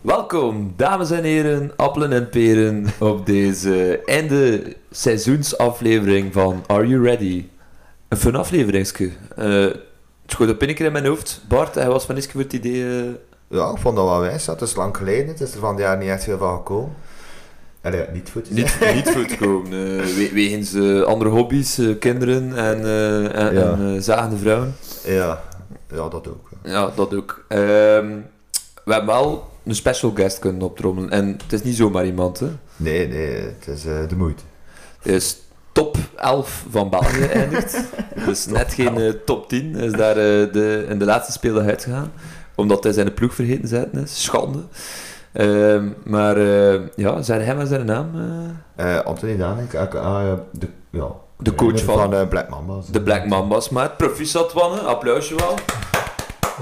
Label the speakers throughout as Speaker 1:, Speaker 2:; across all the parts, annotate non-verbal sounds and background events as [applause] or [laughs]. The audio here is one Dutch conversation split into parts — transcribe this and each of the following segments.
Speaker 1: Welkom, dames en heren, appelen en peren, op deze einde seizoensaflevering van Are You Ready? Een fun afleveringske. Eh, het schoot op één keer in mijn hoofd. Bart, hij was van iets voor het idee... eh,
Speaker 2: Ja, ik vond dat wel wijs. Dat is lang geleden. Het is er van het jaar niet echt veel van gekomen. Allee, niet goed. is
Speaker 1: niet, niet goed komen. eh, we- wegens eh, andere hobby's, eh, kinderen en, eh en,
Speaker 2: Ja.
Speaker 1: en, eh, zagende vrouwen.
Speaker 2: Ja. ja, dat ook. ja.
Speaker 1: Ja, dat ook. Ehm, we hebben wel een special guest kunnen optrommelen. En het is niet zomaar iemand, hè.
Speaker 2: Nee, nee, het is eh, de moeite.
Speaker 1: Het is top 11 van België eindigt. Dus net geen eh, top 10. Is daar eh, de, in de laatste speeldag uitgegaan. Omdat hij zijn ploeg vergeten te zetten is. Schande. Ehm, maar eh, ja, zijn hem en zijn naam... eh,
Speaker 2: Eh Anthony Danink, aka, eh, de, ja,
Speaker 1: De coach
Speaker 2: trainer
Speaker 1: van-
Speaker 2: van eh, Black Mambas.
Speaker 1: de Black Mambas, maar het proficiat wannen. Applausje wel.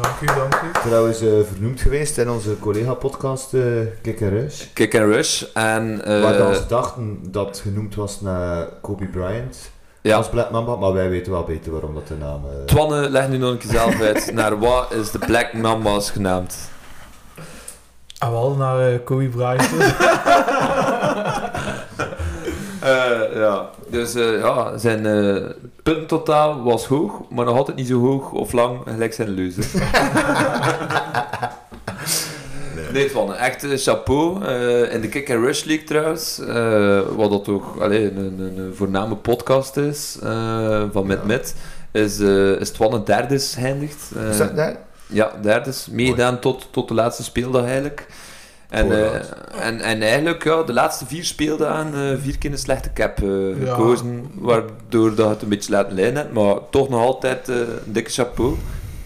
Speaker 3: Dank u, dank u.
Speaker 2: Trouwens, eh, vernoemd geweest in onze collega-podcast eh Kick and Rush.
Speaker 1: Kick and rush. En eh,
Speaker 2: Waar dan ze dachten dat het genoemd was naar Kobe Bryant
Speaker 1: ja,
Speaker 2: als Black Mamba, maar wij weten wel beter waarom dat de naam... eh,
Speaker 1: Twanne, leg nu nog een keer zelf uit. Naar wat is de Black Mambas genaamd?
Speaker 3: En wel naar eh, Kobe [laughs] Bryant.
Speaker 1: Eh, ja. Dus eh, ja, zijn eh puntentotaal was hoog, maar nog altijd niet zo hoog of lang gelijk zijn
Speaker 2: [laughs]
Speaker 1: leuze. Nee, van echt eh, chapeau. Eh, in de Kick and Rush League trouwens, eh, wat dat toch allee, een, een, een voorname podcast is eh, van Met
Speaker 2: Ja.
Speaker 1: Met, is, eh is Twan een derde is geëindigd. Eh,
Speaker 2: is dat daar?
Speaker 1: ja, derde is meegedaan tot, tot de laatste speeldag eigenlijk. En,
Speaker 2: Vooruit.
Speaker 1: eh, en, en eigenlijk, ja, de laatste vier speeldagen, eh vier keer een slechte cap eh,
Speaker 3: Ja.
Speaker 1: gekozen. Waardoor dat het een beetje laten lijnen hebt, maar toch nog altijd eh, een dikke chapeau.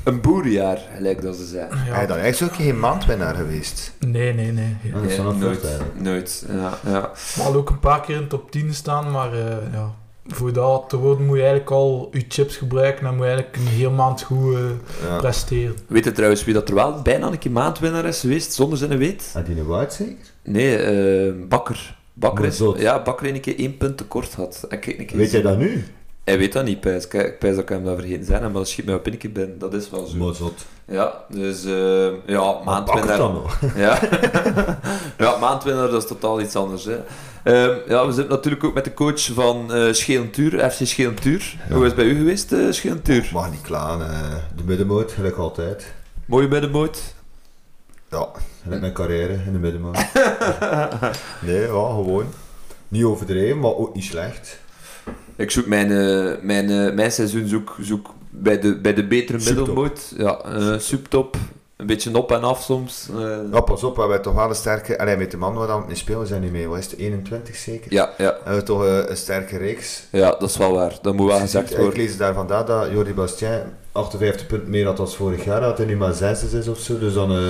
Speaker 1: Een boerenjaar, gelijk dat ze zeggen.
Speaker 2: Hij
Speaker 3: ja.
Speaker 2: dan eigenlijk ook geen maandwinnaar geweest.
Speaker 3: Nee, nee, nee. Ja.
Speaker 2: Ja, dat is wel een
Speaker 1: nooit,
Speaker 2: voordeel, eigenlijk.
Speaker 1: nooit. Ja, ja.
Speaker 3: Maar al ook een paar keer in de top 10 staan, maar eh, ja. Voor dat te worden moet je eigenlijk al je chips gebruiken en moet je eigenlijk een hele maand goed eh,
Speaker 2: Ja.
Speaker 3: presteren.
Speaker 1: Weet je trouwens wie dat er wel bijna een keer maandwinnaar is geweest, zonder zijn weet?
Speaker 2: En die White zeker?
Speaker 1: Nee, eh, Bakker. Bakker
Speaker 2: Maar
Speaker 1: is,
Speaker 2: zot.
Speaker 1: ja, Bakker een keer één punt tekort had. En kijk een keer
Speaker 2: Weet jij dat nu?
Speaker 1: Hij weet dat niet, Pijs. Kijk, ik Pijs dat ik hem dat vergeten zijn, maar dat schiet mij op in ben. Dat is wel zo.
Speaker 2: zot.
Speaker 1: Ja, dus eh ja,
Speaker 2: Pak het
Speaker 1: maandwinnaar.
Speaker 2: dan [laughs] nog.
Speaker 1: Ja. [laughs] ja, maandwinnaar, dat is totaal iets anders. Hè. Ehm, ja, we zitten natuurlijk ook met de coach van eh Schelentuur, FC Schelentuur.
Speaker 2: Ja.
Speaker 1: Hoe is het bij u geweest, eh Schelentuur?
Speaker 2: Mag niet klaar, eh, de middenmoot, gelijk altijd.
Speaker 1: Mooie middenmoot.
Speaker 2: Ja, gelijk mijn carrière in de middenmoot. [laughs] nee, ja, gewoon. Niet overdreven, maar ook niet slecht.
Speaker 1: Ik zoek mijn, eh, mijn, eh, mijn seizoen zoek, zoek bij, de, bij de betere
Speaker 2: Subtop.
Speaker 1: middelmoot. Ja, eh subtop. Een beetje op en af soms. eh.
Speaker 2: Ja, pas op, we hebben toch wel een sterke... Allee, met de man waar we mee spelen, we zijn nu mee, wat is het, 21 zeker?
Speaker 1: ja, ja,
Speaker 2: Hebben we toch eh, een sterke reeks.
Speaker 1: ja, dat is wel waar. Dat moet wel gezegd
Speaker 2: Ik
Speaker 1: worden.
Speaker 2: lees daar vandaag dat Jordi Bastien 58 punten meer had als vorig jaar, dat hij nu maar 6 is of zo. Dus dan... eh,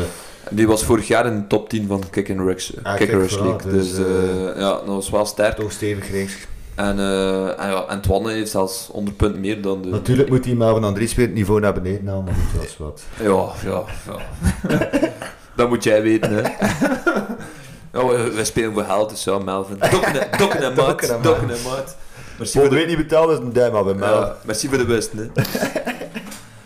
Speaker 1: Die was vorig jaar in de top 10 van Kick and Rush,
Speaker 2: Ah,
Speaker 1: Kick and
Speaker 2: kijk,
Speaker 1: Rush
Speaker 2: voilà,
Speaker 1: League. Dus,
Speaker 2: dus,
Speaker 1: eh, ja, dat was wel sterk.
Speaker 2: toch stevig reeks.
Speaker 1: En, eh en, ja, en Twanne heeft zelfs 100 punten meer dan de...
Speaker 2: Natuurlijk moet hij maar van Andries weer het niveau naar beneden halen, maar goed, dat is wat.
Speaker 1: Ja, ja, ja. [laughs] dat moet jij weten,
Speaker 2: [laughs]
Speaker 1: hè. ja, wij, wij spelen voor geld, dus ja, Melvin. Dokken en- Dokken en
Speaker 2: [laughs] Dokken
Speaker 1: maat.
Speaker 2: en
Speaker 1: Dokken en maat. Merci voor
Speaker 2: [laughs] Volgende
Speaker 1: de
Speaker 2: week niet betaald is een duim aan bij mij.
Speaker 1: Ja, merci voor de best. Hè.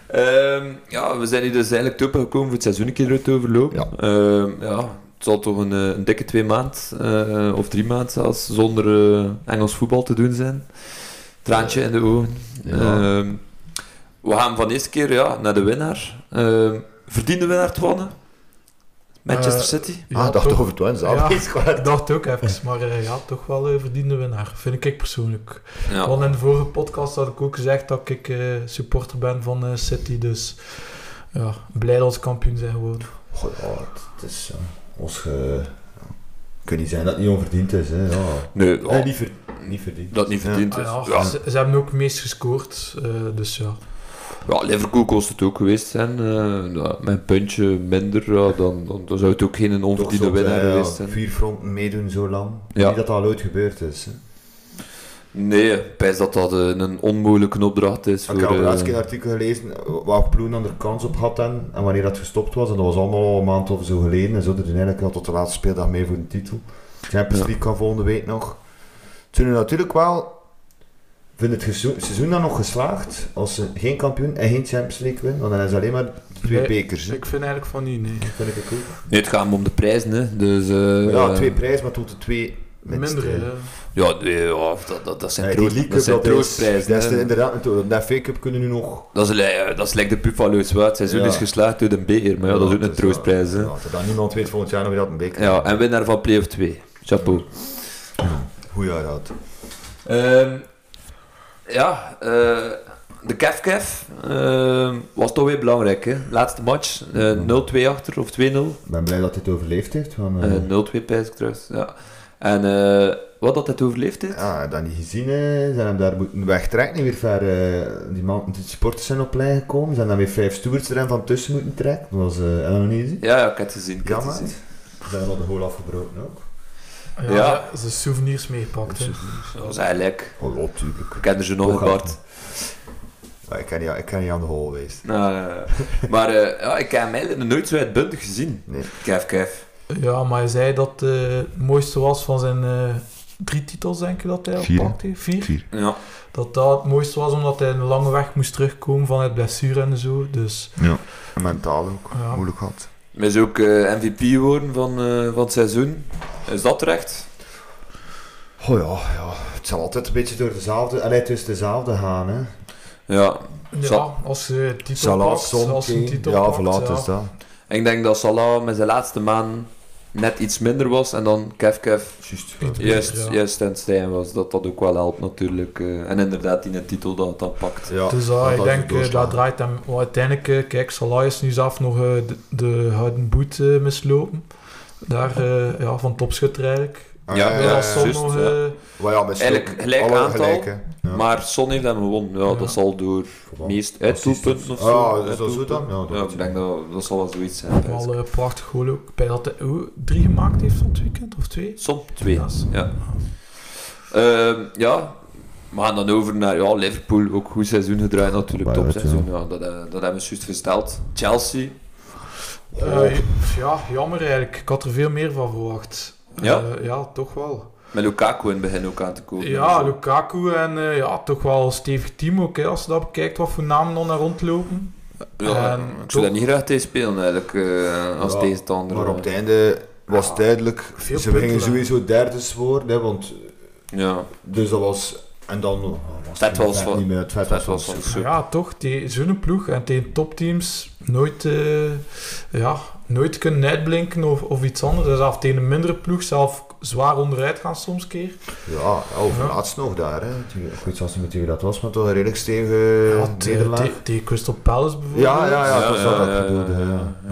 Speaker 1: Ehm, ja, we zijn hier dus eigenlijk toe gekomen voor het seizoen een keer uit te overlopen.
Speaker 2: Ja.
Speaker 1: Ehm, ja, het zal toch een, eh, een dikke twee maand eh, of drie maanden zelfs zonder eh, Engels voetbal te doen zijn. Traantje in de ogen.
Speaker 2: Ja. Ah,
Speaker 1: Ehm, we gaan van eerste keer ja, naar de winnaar. Ehm, verdiende winnaar te wonnen. Manchester
Speaker 3: Eh,
Speaker 1: City.
Speaker 3: Ja,
Speaker 2: ah, dacht
Speaker 3: toch-
Speaker 2: over het wens.
Speaker 3: Ja.
Speaker 2: [laughs] Ja.
Speaker 3: Ik dacht ook even, maar eh, ja, toch wel een verdiende winnaar, vind ik persoonlijk.
Speaker 1: Ja.
Speaker 3: Want in de vorige podcast had ik ook gezegd dat ik eh, supporter ben van eh, City, dus ja, blij dat ze kampioen zijn geworden.
Speaker 2: Goh, ja, het- het is... eh, ons ge... Kun niet zijn dat het niet onverdiend is, hè. Ja.
Speaker 1: Nee, ja,
Speaker 2: Nee, niet, ver- niet verdiend.
Speaker 1: dat niet
Speaker 2: Ja.
Speaker 1: verdiend is.
Speaker 3: Ah, ja,
Speaker 1: Ja.
Speaker 3: Ze, ze hebben ook meest gescoord, eh, dus ja.
Speaker 1: Ja, Liverpool kost het ook geweest zijn. eh, ja, met een puntje minder, ja, dan, dan, dan zou het ook geen
Speaker 2: Toch
Speaker 1: onverdiende
Speaker 2: zot, hè,
Speaker 1: winnaar
Speaker 2: ja,
Speaker 1: geweest zijn.
Speaker 2: Vier fronten meedoen zo lang.
Speaker 1: Ja.
Speaker 2: Niet dat dat al ooit gebeurd is. Hè.
Speaker 1: Nee, ik pijs dat dat eh, een onmogelijke opdracht is.
Speaker 2: Ik heb
Speaker 1: voor,
Speaker 2: al
Speaker 1: eh,
Speaker 2: laatst keer een artikel gelezen eh, waar ploen aan de kans op had en, en wanneer dat gestopt was. En dat was allemaal een maand of zo geleden. En zo doen eigenlijk al tot de laatste speeldag mee voor de titel. Champions
Speaker 1: Ja.
Speaker 2: League kan volgende week nog. Toen nu natuurlijk wel... Vind het gezo- seizoen dan nog geslaagd als ze geen kampioen en geen Champions League winnen? Want dan is alleen maar Twee
Speaker 3: Nee,
Speaker 2: bekers, hè.
Speaker 3: Ik vind eigenlijk van niet, nee.
Speaker 2: vind ik ook.
Speaker 1: Nee, het gaat hem om de prijzen, hè. Dus, eh,
Speaker 2: Ja,
Speaker 1: eh,
Speaker 2: twee prijzen, maar tot de twee minst,
Speaker 3: Minder,
Speaker 2: hè.
Speaker 3: hè.
Speaker 1: Ja, nee, ja, dat, dat, dat zijn,
Speaker 2: Nee,
Speaker 1: troost-
Speaker 2: die League
Speaker 1: dat zijn
Speaker 2: Cup, dat is, dat is
Speaker 1: troostprijzen. hè.
Speaker 2: de- inderdaad, de FA Cup kunnen nu nog...
Speaker 1: Dat is, li- eh, dat is like de pub van Leus Het seizoen
Speaker 2: Ja.
Speaker 1: is geslaagd door een beer, maar ja, dat is ook een
Speaker 2: is
Speaker 1: troostprijs.
Speaker 2: wel-
Speaker 1: Hè.
Speaker 2: Ja, dat dan niemand weet volgend jaar nog wie dat een beker
Speaker 1: Ja, en winnaar van Play of 2. Chapeau.
Speaker 2: Goeie raad.
Speaker 1: Ehm, ja, eh, de Kef Kef ehm, was toch weer belangrijk. Hè? Laatste match, eh, 0-2 achter of 2-0.
Speaker 2: Ik ben blij dat dit overleefd heeft. Want,
Speaker 1: Eh,
Speaker 2: eh,
Speaker 1: 0-2 pijs ik trouwens. Ja. En eh, wat dat het overleefd heeft?
Speaker 2: ja, dat niet gezien, hè. Ze hebben hem daar moeten wegtrekken. Niet weer ver, eh, die, man, die supporters zijn op lijn gekomen. Ze hebben dan weer vijf stewards er van tussen moeten trekken. Dat was eh helemaal niet gezien.
Speaker 1: Ja, ja, ik heb het gezien. Ik heb
Speaker 2: Jammer.
Speaker 1: het gezien.
Speaker 2: Ze hebben al de goal afgebroken ook.
Speaker 3: Ja,
Speaker 1: Ja.
Speaker 3: Ze souvenirs meegepakt, hè.
Speaker 1: Dat was eigenlijk...
Speaker 2: Oh, ja, tuurlijk.
Speaker 1: Ik ken er zo nog een
Speaker 2: Toch
Speaker 1: Bart.
Speaker 2: Maar ik kan niet, ik kan niet aan de goal geweest.
Speaker 1: Nou, eh, maar eh, ja, ik heb hem eigenlijk nog nooit zo uitbundig gezien.
Speaker 2: Nee.
Speaker 1: Kef, kef.
Speaker 3: Ja, maar hij zei dat eh, het mooiste was van zijn eh, drie titels, denk ik dat hij
Speaker 2: Vier, hè?
Speaker 3: al pakte. Vier.
Speaker 1: Ja.
Speaker 3: Dat dat het mooiste was, omdat hij een lange weg moest terugkomen vanuit blessure en zo. Dus
Speaker 2: En mentaal ook.
Speaker 3: ja,
Speaker 2: Moeilijk gehad.
Speaker 1: Hij is ook eh, MVP geworden van, eh, van het seizoen. Is dat terecht?
Speaker 2: Oh ja, ja, het zal altijd een beetje door dezelfde, allee, tussen dezelfde gaan. Hè.
Speaker 1: Ja.
Speaker 3: ja
Speaker 1: Zal-
Speaker 3: als ze titel pakt,
Speaker 2: Son,
Speaker 3: als ze een
Speaker 2: Kane.
Speaker 3: titel
Speaker 2: Ja,
Speaker 3: pakt,
Speaker 2: voilà,
Speaker 3: ja.
Speaker 2: het is dat.
Speaker 1: Ik denk dat Salah met zijn laatste maand net iets minder was. En dan Kef, kef.
Speaker 2: Juist.
Speaker 3: Iets beter,
Speaker 1: Juist,
Speaker 3: ja.
Speaker 1: juist en Stijn was. Dat dat ook wel helpt natuurlijk. eh, en inderdaad die een titel dat het dan pakt.
Speaker 2: Ja,
Speaker 3: Dus
Speaker 2: want
Speaker 3: ja, ik
Speaker 2: dat is
Speaker 3: denk,
Speaker 2: de
Speaker 3: eh,
Speaker 2: doorslag.
Speaker 3: dat draait hem... wel uiteindelijk, eh, kijk, Salah is nu zelf nog eh, de, de houden boet eh, mislopen. Daar, eh, ja, van topschutter eigenlijk.
Speaker 2: Ah,
Speaker 1: Ja,
Speaker 3: Ja,
Speaker 1: ja,
Speaker 3: als Son
Speaker 1: juist,
Speaker 3: nog...
Speaker 1: ja.
Speaker 3: eh,
Speaker 2: Maar ja, met
Speaker 1: Eigenlijk
Speaker 2: Stoke-
Speaker 1: gelijk
Speaker 2: alle
Speaker 1: aantal,
Speaker 2: gelijk, hè. Ja.
Speaker 1: Maar Son heeft hem gewonnen. Ja,
Speaker 3: Ja.
Speaker 1: Dat zal door
Speaker 2: Voilà.
Speaker 1: meest uitdoelpunten of zo.
Speaker 2: Ah, is dat zo
Speaker 1: uitdoelpunten.
Speaker 2: dan? Ja, dat
Speaker 1: Ja,
Speaker 2: weet
Speaker 1: ik
Speaker 2: ik
Speaker 1: denk dat dat zal wel zoiets zijn. pijs ik.
Speaker 3: Wel eh, prachtig goal ook. Bij dat hij hoe, drie gemaakt heeft van het weekend, of twee?
Speaker 1: Som, twee.
Speaker 3: Ja, Son.
Speaker 1: Ja. Ehm, ja, we gaan dan over naar ja, Liverpool. Ook goed seizoen gedraaid natuurlijk,
Speaker 2: Maar
Speaker 1: topseizoen.
Speaker 2: ja.
Speaker 1: Ja, dat, eh, dat hebben we juist versteld. Chelsea,
Speaker 2: Oh.
Speaker 3: Eh, ja, jammer eigenlijk. Ik had er veel meer van verwacht.
Speaker 1: Ja?
Speaker 3: Eh, ja, toch wel.
Speaker 1: met Lukaku in het begin ook aan te komen.
Speaker 3: Ja, Lukaku en eh, ja, toch wel een stevig team ook. Hè, als je dat bekijkt, wat voor namen dan daar rondlopen.
Speaker 1: Ja,
Speaker 3: en
Speaker 1: ik
Speaker 3: toch-
Speaker 1: zou daar niet graag tegen spelen eigenlijk, eh, als
Speaker 2: Ja,
Speaker 1: tegenstander.
Speaker 2: Maar op het einde was het duidelijk,
Speaker 3: Veel
Speaker 2: ze gingen
Speaker 3: punten.
Speaker 2: sowieso derde worden, hè, want
Speaker 1: Ja,
Speaker 2: dus dat was, en dan oh, was
Speaker 1: Vet was
Speaker 2: vet
Speaker 1: van-
Speaker 2: niet meer, het vet
Speaker 1: dat was
Speaker 2: was
Speaker 1: wel
Speaker 2: van-
Speaker 1: super.
Speaker 3: Ja, toch, die- zo'n ploeg en tegen topteams nooit, eh, ja, nooit kunnen uitblinken of, of iets anders. En zelfs tegen een mindere ploeg zelf zwaar onderuit gaan soms keer.
Speaker 2: Ja, ja, over
Speaker 3: Ja.
Speaker 2: laatst nog daar, hè. Tegen- Ik weet zelfs niet meer tegen wie dat was, maar toch een redelijk stevige
Speaker 3: Ja, te-
Speaker 2: Eh, nederlaag.
Speaker 3: te- tegen Crystal Palace bijvoorbeeld.
Speaker 2: Ja, ja, ja,
Speaker 1: Ja,
Speaker 2: dat was
Speaker 1: ja,
Speaker 2: dat
Speaker 1: ja, ja,
Speaker 2: ik bedoelde,
Speaker 1: ja,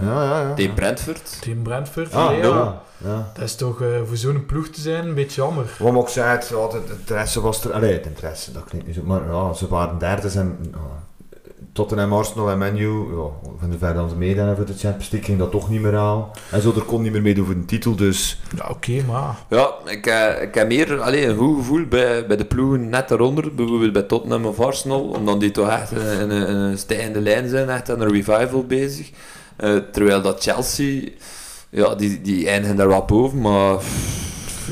Speaker 2: ja. Ja, ja, ja.
Speaker 1: Tegen Brentford.
Speaker 3: Tegen Brentford.
Speaker 2: Ah,
Speaker 3: nee, ja.
Speaker 2: ja, ja.
Speaker 3: Dat is toch eh, voor zo'n ploeg te zijn een beetje jammer.
Speaker 2: Wat ik ook zei, het, ja, het interesse was er. Allee, het interesse, dat klinkt niet zo. Maar ja, ze waren derde. En, ja, Tottenham, Arsenal en Man U, ja, van de ver dan ze meededen voor de Champions League, ging dat toch niet meer aan. En zo, er kon niet meer mee doen voor de titel, dus...
Speaker 3: Ja, oké, maar...
Speaker 1: Ja, ik, eh, ik heb meer allee, een goed gevoel bij, bij de ploegen net daaronder, bijvoorbeeld bij Tottenham of Arsenal, omdat die toch echt eh, in, een- in een stijgende lijn zijn, echt aan een revival bezig. Eh, terwijl dat Chelsea, ja, die, die eindigen daar wat boven, maar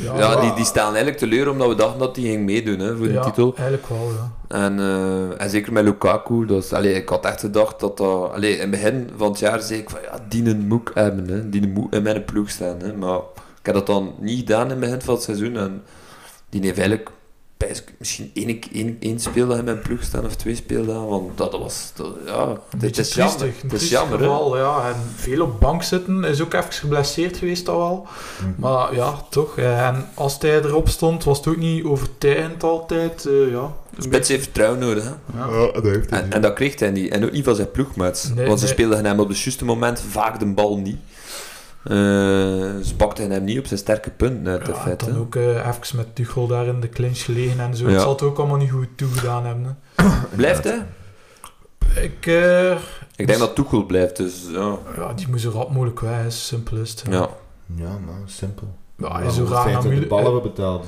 Speaker 1: ja,
Speaker 3: Ja,
Speaker 1: die, die staan eigenlijk teleur omdat we dachten dat die ging meedoen hè, voor de
Speaker 3: ja,
Speaker 1: titel.
Speaker 3: eigenlijk wel, ja.
Speaker 1: En, eh, en zeker met Lukaku, dat is, allee, ik had echt gedacht dat dat... Allee, in het begin van het jaar zei ik van ja, die een moek hebben, hè, die moet in mijn ploeg staan. Hè, maar ik heb dat dan niet gedaan in het begin van het seizoen. En die heeft eigenlijk pijs ik, misschien één, één, één speeldag in mijn ploeg staan of twee speeldagen. Want dat, dat was... dat- ja,
Speaker 3: Een
Speaker 1: dit
Speaker 3: beetje
Speaker 1: is jammer.
Speaker 3: triestig, een
Speaker 1: Het is
Speaker 3: triestig
Speaker 1: jammer, hè.
Speaker 3: geval, ja. En veel op bank zitten. Is ook even geblesseerd geweest al wel.
Speaker 2: Mm.
Speaker 3: Maar ja, toch. eh, En als hij erop stond, was het ook niet overtuigend altijd. eh, ja. Een
Speaker 1: Spits
Speaker 3: beetje-
Speaker 1: heeft trouw nodig, hè.
Speaker 3: Ja.
Speaker 2: dat heeft
Speaker 1: En, en dat kreeg hij niet. En ook niet van zijn ploegmaats.
Speaker 3: Nee,
Speaker 1: want ze
Speaker 3: nee.
Speaker 1: speelden hem op het juiste moment vaak de bal niet. Eh, ze pakten hem niet op zijn sterke punten uit,
Speaker 3: Ja,
Speaker 1: in feite.
Speaker 3: dan ook eh, even met Tuchel daar in de clinch gelegen en zo.
Speaker 1: Ja.
Speaker 3: Het zal het ook allemaal niet goed toegedaan hebben. hè.
Speaker 1: Blijft hij?
Speaker 3: Ik, eh,
Speaker 1: Ik denk dat Tuchel blijft, dus ja.
Speaker 3: ja, die moest zo rap mogelijk weg, hè. simpel is het. hè.
Speaker 1: Ja,
Speaker 2: Ja, man, simpel.
Speaker 3: Ja, hij
Speaker 2: Maar
Speaker 3: is zo
Speaker 2: voor
Speaker 3: raar
Speaker 2: het feit dat
Speaker 3: naar
Speaker 2: de
Speaker 3: Müller-
Speaker 2: ballen hebben betaald.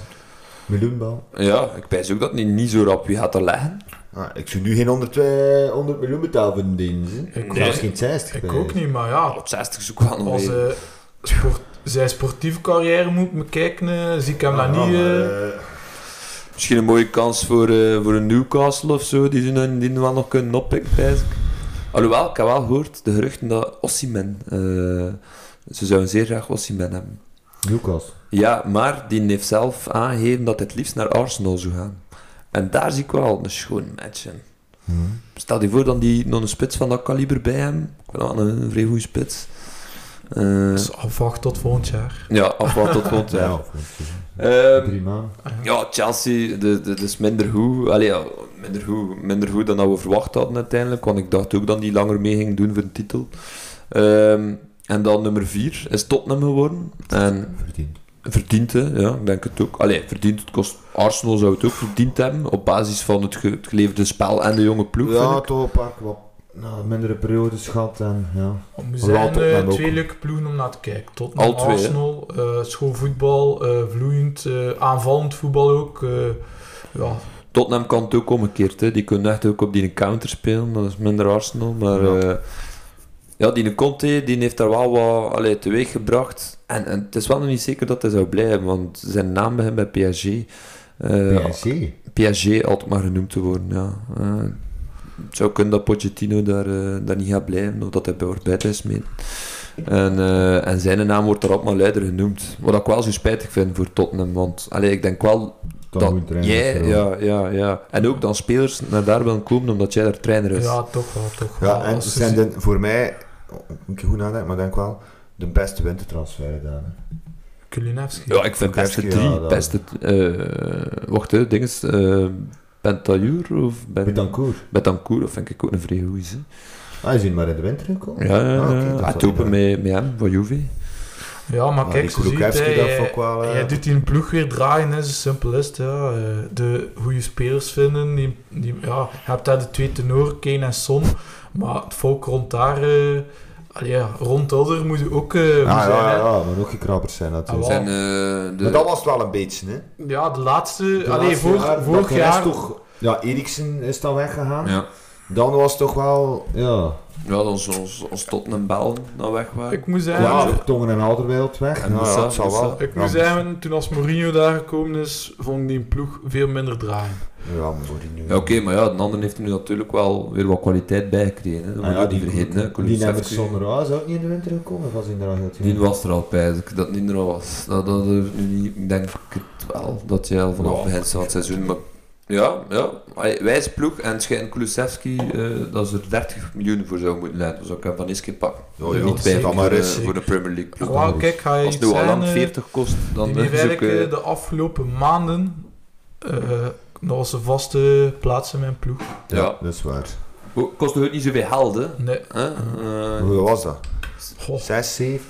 Speaker 2: Miljoenbal.
Speaker 1: ja ik wijs ook dat hij niet zo rap wie gaat er leggen.
Speaker 2: Ah, ik zou nu geen 100, eh, 100 miljoen betalen voor een dienst. hè.
Speaker 3: Ik
Speaker 1: Nee.
Speaker 2: Zelfs geen 60.
Speaker 3: Ik
Speaker 2: bij
Speaker 3: ook
Speaker 2: wijze.
Speaker 3: niet, maar ja,
Speaker 1: Op 60 zoek wel nog
Speaker 3: als
Speaker 1: even.
Speaker 3: eh, sport, zijn sportieve carrière moet bekijken, eh, zie ik hem daar
Speaker 2: Ja,
Speaker 3: niet...
Speaker 2: Ah, maar,
Speaker 3: eh,
Speaker 2: eh,
Speaker 1: Misschien een mooie kans voor, eh, voor een Newcastle of zo, die ze dan die wel nog kunnen oppikken, wijs ik. Alhoewel, ik heb wel gehoord de geruchten dat Ossiman... eh, ze zouden zeer graag Ossiman hebben.
Speaker 2: Newcastle.
Speaker 1: Ja, maar die heeft zelf aangegeven dat hij het liefst naar Arsenal zou gaan. En daar zie ik wel een schoon match in.
Speaker 2: Hm.
Speaker 1: Stel je voor dan die nog een spits van dat kaliber bij hem. Ik vind dat een vrij goede spits. Eh,
Speaker 3: Dus afwacht tot volgend jaar.
Speaker 1: ja, afwacht tot volgend
Speaker 2: [laughs] Ja,
Speaker 1: jaar.
Speaker 2: of niet.
Speaker 1: Ehm,
Speaker 2: drie maanden.
Speaker 1: ja, Chelsea, de- de- dat is minder goed. Allee, ja, minder goed. Minder goed dan dat we verwacht hadden uiteindelijk. Want ik dacht ook dat die langer mee ging doen voor de titel. Ehm, en dan nummer 4 is Tottenham geworden. En
Speaker 2: Verdiend.
Speaker 1: Verdient, hè? ja, ik denk het ook. Allee, verdient het kost. Arsenal zou het ook verdiend hebben. Op basis van het, ge- het geleverde spel en de jonge ploeg.
Speaker 2: Ja,
Speaker 1: vind ik.
Speaker 2: toch een paar wat nou, mindere periodes gehad en ja.
Speaker 3: Er
Speaker 2: Laat
Speaker 3: zijn
Speaker 2: Tottenham
Speaker 3: eh,
Speaker 2: ook.
Speaker 3: twee leuke ploegen om naar te kijken. Tot
Speaker 1: Al twee, hè?
Speaker 3: Arsenal, eh schoon voetbal, eh, vloeiend, eh, aanvallend voetbal ook. eh, ja,
Speaker 1: Tottenham kan het ook omgekeerd. Hè. Die kunnen echt ook op die counter spelen. Dat is minder Arsenal. Maar
Speaker 2: Ja.
Speaker 1: ja, ja die Conte die heeft daar wel wat allee, teweeg gebracht. En, en het is wel nog niet zeker dat hij zou blijven. Want zijn naam begint bij PSG. Eh,
Speaker 2: PSC.
Speaker 1: PSG altijd maar genoemd te worden. Ja. Eh, het zou kunnen dat Pochettino daar, eh, daar niet gaat blijven, of dat hij bij Orbit is mee. En, eh, en zijn naam wordt er altijd maar luider genoemd. Wat ik wel zo spijtig vind voor Tottenham, want allee, ik denk wel
Speaker 2: Dan
Speaker 1: dat
Speaker 2: moet je
Speaker 1: jij...
Speaker 2: trainen.
Speaker 1: Ja, ja, ja. En ook dan spelers naar daar willen komen omdat jij daar trainer is.
Speaker 3: ja, toch wel, toch wel.
Speaker 2: Dus- Ja, en
Speaker 3: Als
Speaker 2: ze
Speaker 3: ze
Speaker 2: zijn
Speaker 3: zien-
Speaker 2: de- voor mij, moet je goed nadenken, maar denk wel, de beste wintertransfer gedaan. hè.
Speaker 3: Kulinevski.
Speaker 1: Ja, ik vind
Speaker 2: Kukerski,
Speaker 1: beste drie.
Speaker 2: ja, dat-
Speaker 1: beste... eh wacht, hè, ding is... eh Pentajour of ben,
Speaker 2: Betancourt.
Speaker 1: Betancourt, dat vind ik ook een vrij goeie. hè.
Speaker 2: Ah, je ziet maar in de winter gekomen.
Speaker 1: Ja, ja, ja.
Speaker 2: Ah, oké, dat
Speaker 1: Ah,
Speaker 2: zal
Speaker 1: Toepen
Speaker 2: niet
Speaker 1: met, met hem, van Juve.
Speaker 3: Ja, maar
Speaker 2: Maar
Speaker 3: kijk,
Speaker 2: Ah, die
Speaker 3: ze ziet,
Speaker 2: Kulusevski,
Speaker 3: hè,
Speaker 2: dat
Speaker 3: jij-
Speaker 2: vond ik wel, eh,
Speaker 3: jij doet die een ploeg weer draaien, hè, zo simpel is het. Ja. Eh, De goede spelers vinden, die, die, ja, je hebt daar de twee tenoren, Kane en Son, maar het volk rond daar, eh, allee, ja, rond Elder moet je ook eh, moet
Speaker 2: Ah,
Speaker 3: zijn.
Speaker 2: ja,
Speaker 3: hè.
Speaker 2: ja, maar nog gekrabbers zijn natuurlijk.
Speaker 3: Ah,
Speaker 1: En,
Speaker 3: wel.
Speaker 1: eh, de-
Speaker 2: Maar dat was het wel een beetje, hè.
Speaker 3: Ja, de laatste,
Speaker 2: De
Speaker 3: allee,
Speaker 2: laatste
Speaker 3: vorig-
Speaker 2: jaren,
Speaker 3: vorig
Speaker 2: dat de rest
Speaker 3: jaar,
Speaker 2: toch... Ja, Eriksen is dan weggegaan.
Speaker 1: Ja.
Speaker 2: Dan was het toch wel... Ja,
Speaker 1: Ja, ons, ons, ons Tottenham Bellen dan weg waren.
Speaker 3: ik moet
Speaker 2: eh, ja,
Speaker 3: zeggen,
Speaker 2: Tongen en Alderweireld weg.
Speaker 1: En
Speaker 2: ja,
Speaker 1: Moussa,
Speaker 2: dat zal wel.
Speaker 1: Moussa.
Speaker 3: ik moet
Speaker 2: ja,
Speaker 3: zeggen, toen als Mourinho daar gekomen is, vond ik die ploeg veel minder draaien.
Speaker 2: Ja, maar voor die nu.
Speaker 1: Ja, oké, maar ja, de ander heeft er nu natuurlijk wel weer wat kwaliteit bijgekregen. Hè. Dat
Speaker 2: Ah,
Speaker 1: moet
Speaker 2: ja,
Speaker 1: je
Speaker 2: die
Speaker 1: niet vergeten. Hè.
Speaker 2: die, die
Speaker 1: Kulusevski.
Speaker 2: Nemerson Roa is ook niet in de winter gekomen, was hij er al heel
Speaker 1: Die
Speaker 2: veel.
Speaker 1: was er al bij, dat ik dat niet er al was. Dat, dat er nu niet, ik denk het wel, dat je al vanaf
Speaker 2: Ja.
Speaker 1: het begin van het seizoen... Maar ja, ja. Allee, wijze ploeg en schijnt Kulusevski eh, dat ze er 30 miljoen voor zou moeten leiden. Dus ik kan van Iske pakken.
Speaker 2: Ja,
Speaker 1: Er
Speaker 2: ja,
Speaker 1: niet
Speaker 2: dat eh,
Speaker 1: bij
Speaker 2: kan
Speaker 1: voor,
Speaker 2: maar
Speaker 1: de-
Speaker 2: eens.
Speaker 1: voor de Premier League ploeg.
Speaker 3: Wauw, kijk, ga je
Speaker 1: Als het
Speaker 3: iets
Speaker 1: nu al
Speaker 3: zeggen,
Speaker 1: lang
Speaker 3: eh,
Speaker 1: 40 kost, dan
Speaker 3: die
Speaker 1: eh,
Speaker 2: dus
Speaker 1: is
Speaker 3: heeft
Speaker 1: ook...
Speaker 3: eigenlijk
Speaker 1: eh,
Speaker 3: eh, de afgelopen maanden eh nog als een vaste plaats in mijn ploeg.
Speaker 1: Ja.
Speaker 2: dat is waar.
Speaker 1: oh, kost het niet zoveel geld, hè.
Speaker 3: Nee,
Speaker 1: Hè? Eh,
Speaker 2: Hoeveel was dat?
Speaker 3: goh,
Speaker 2: 6, 7?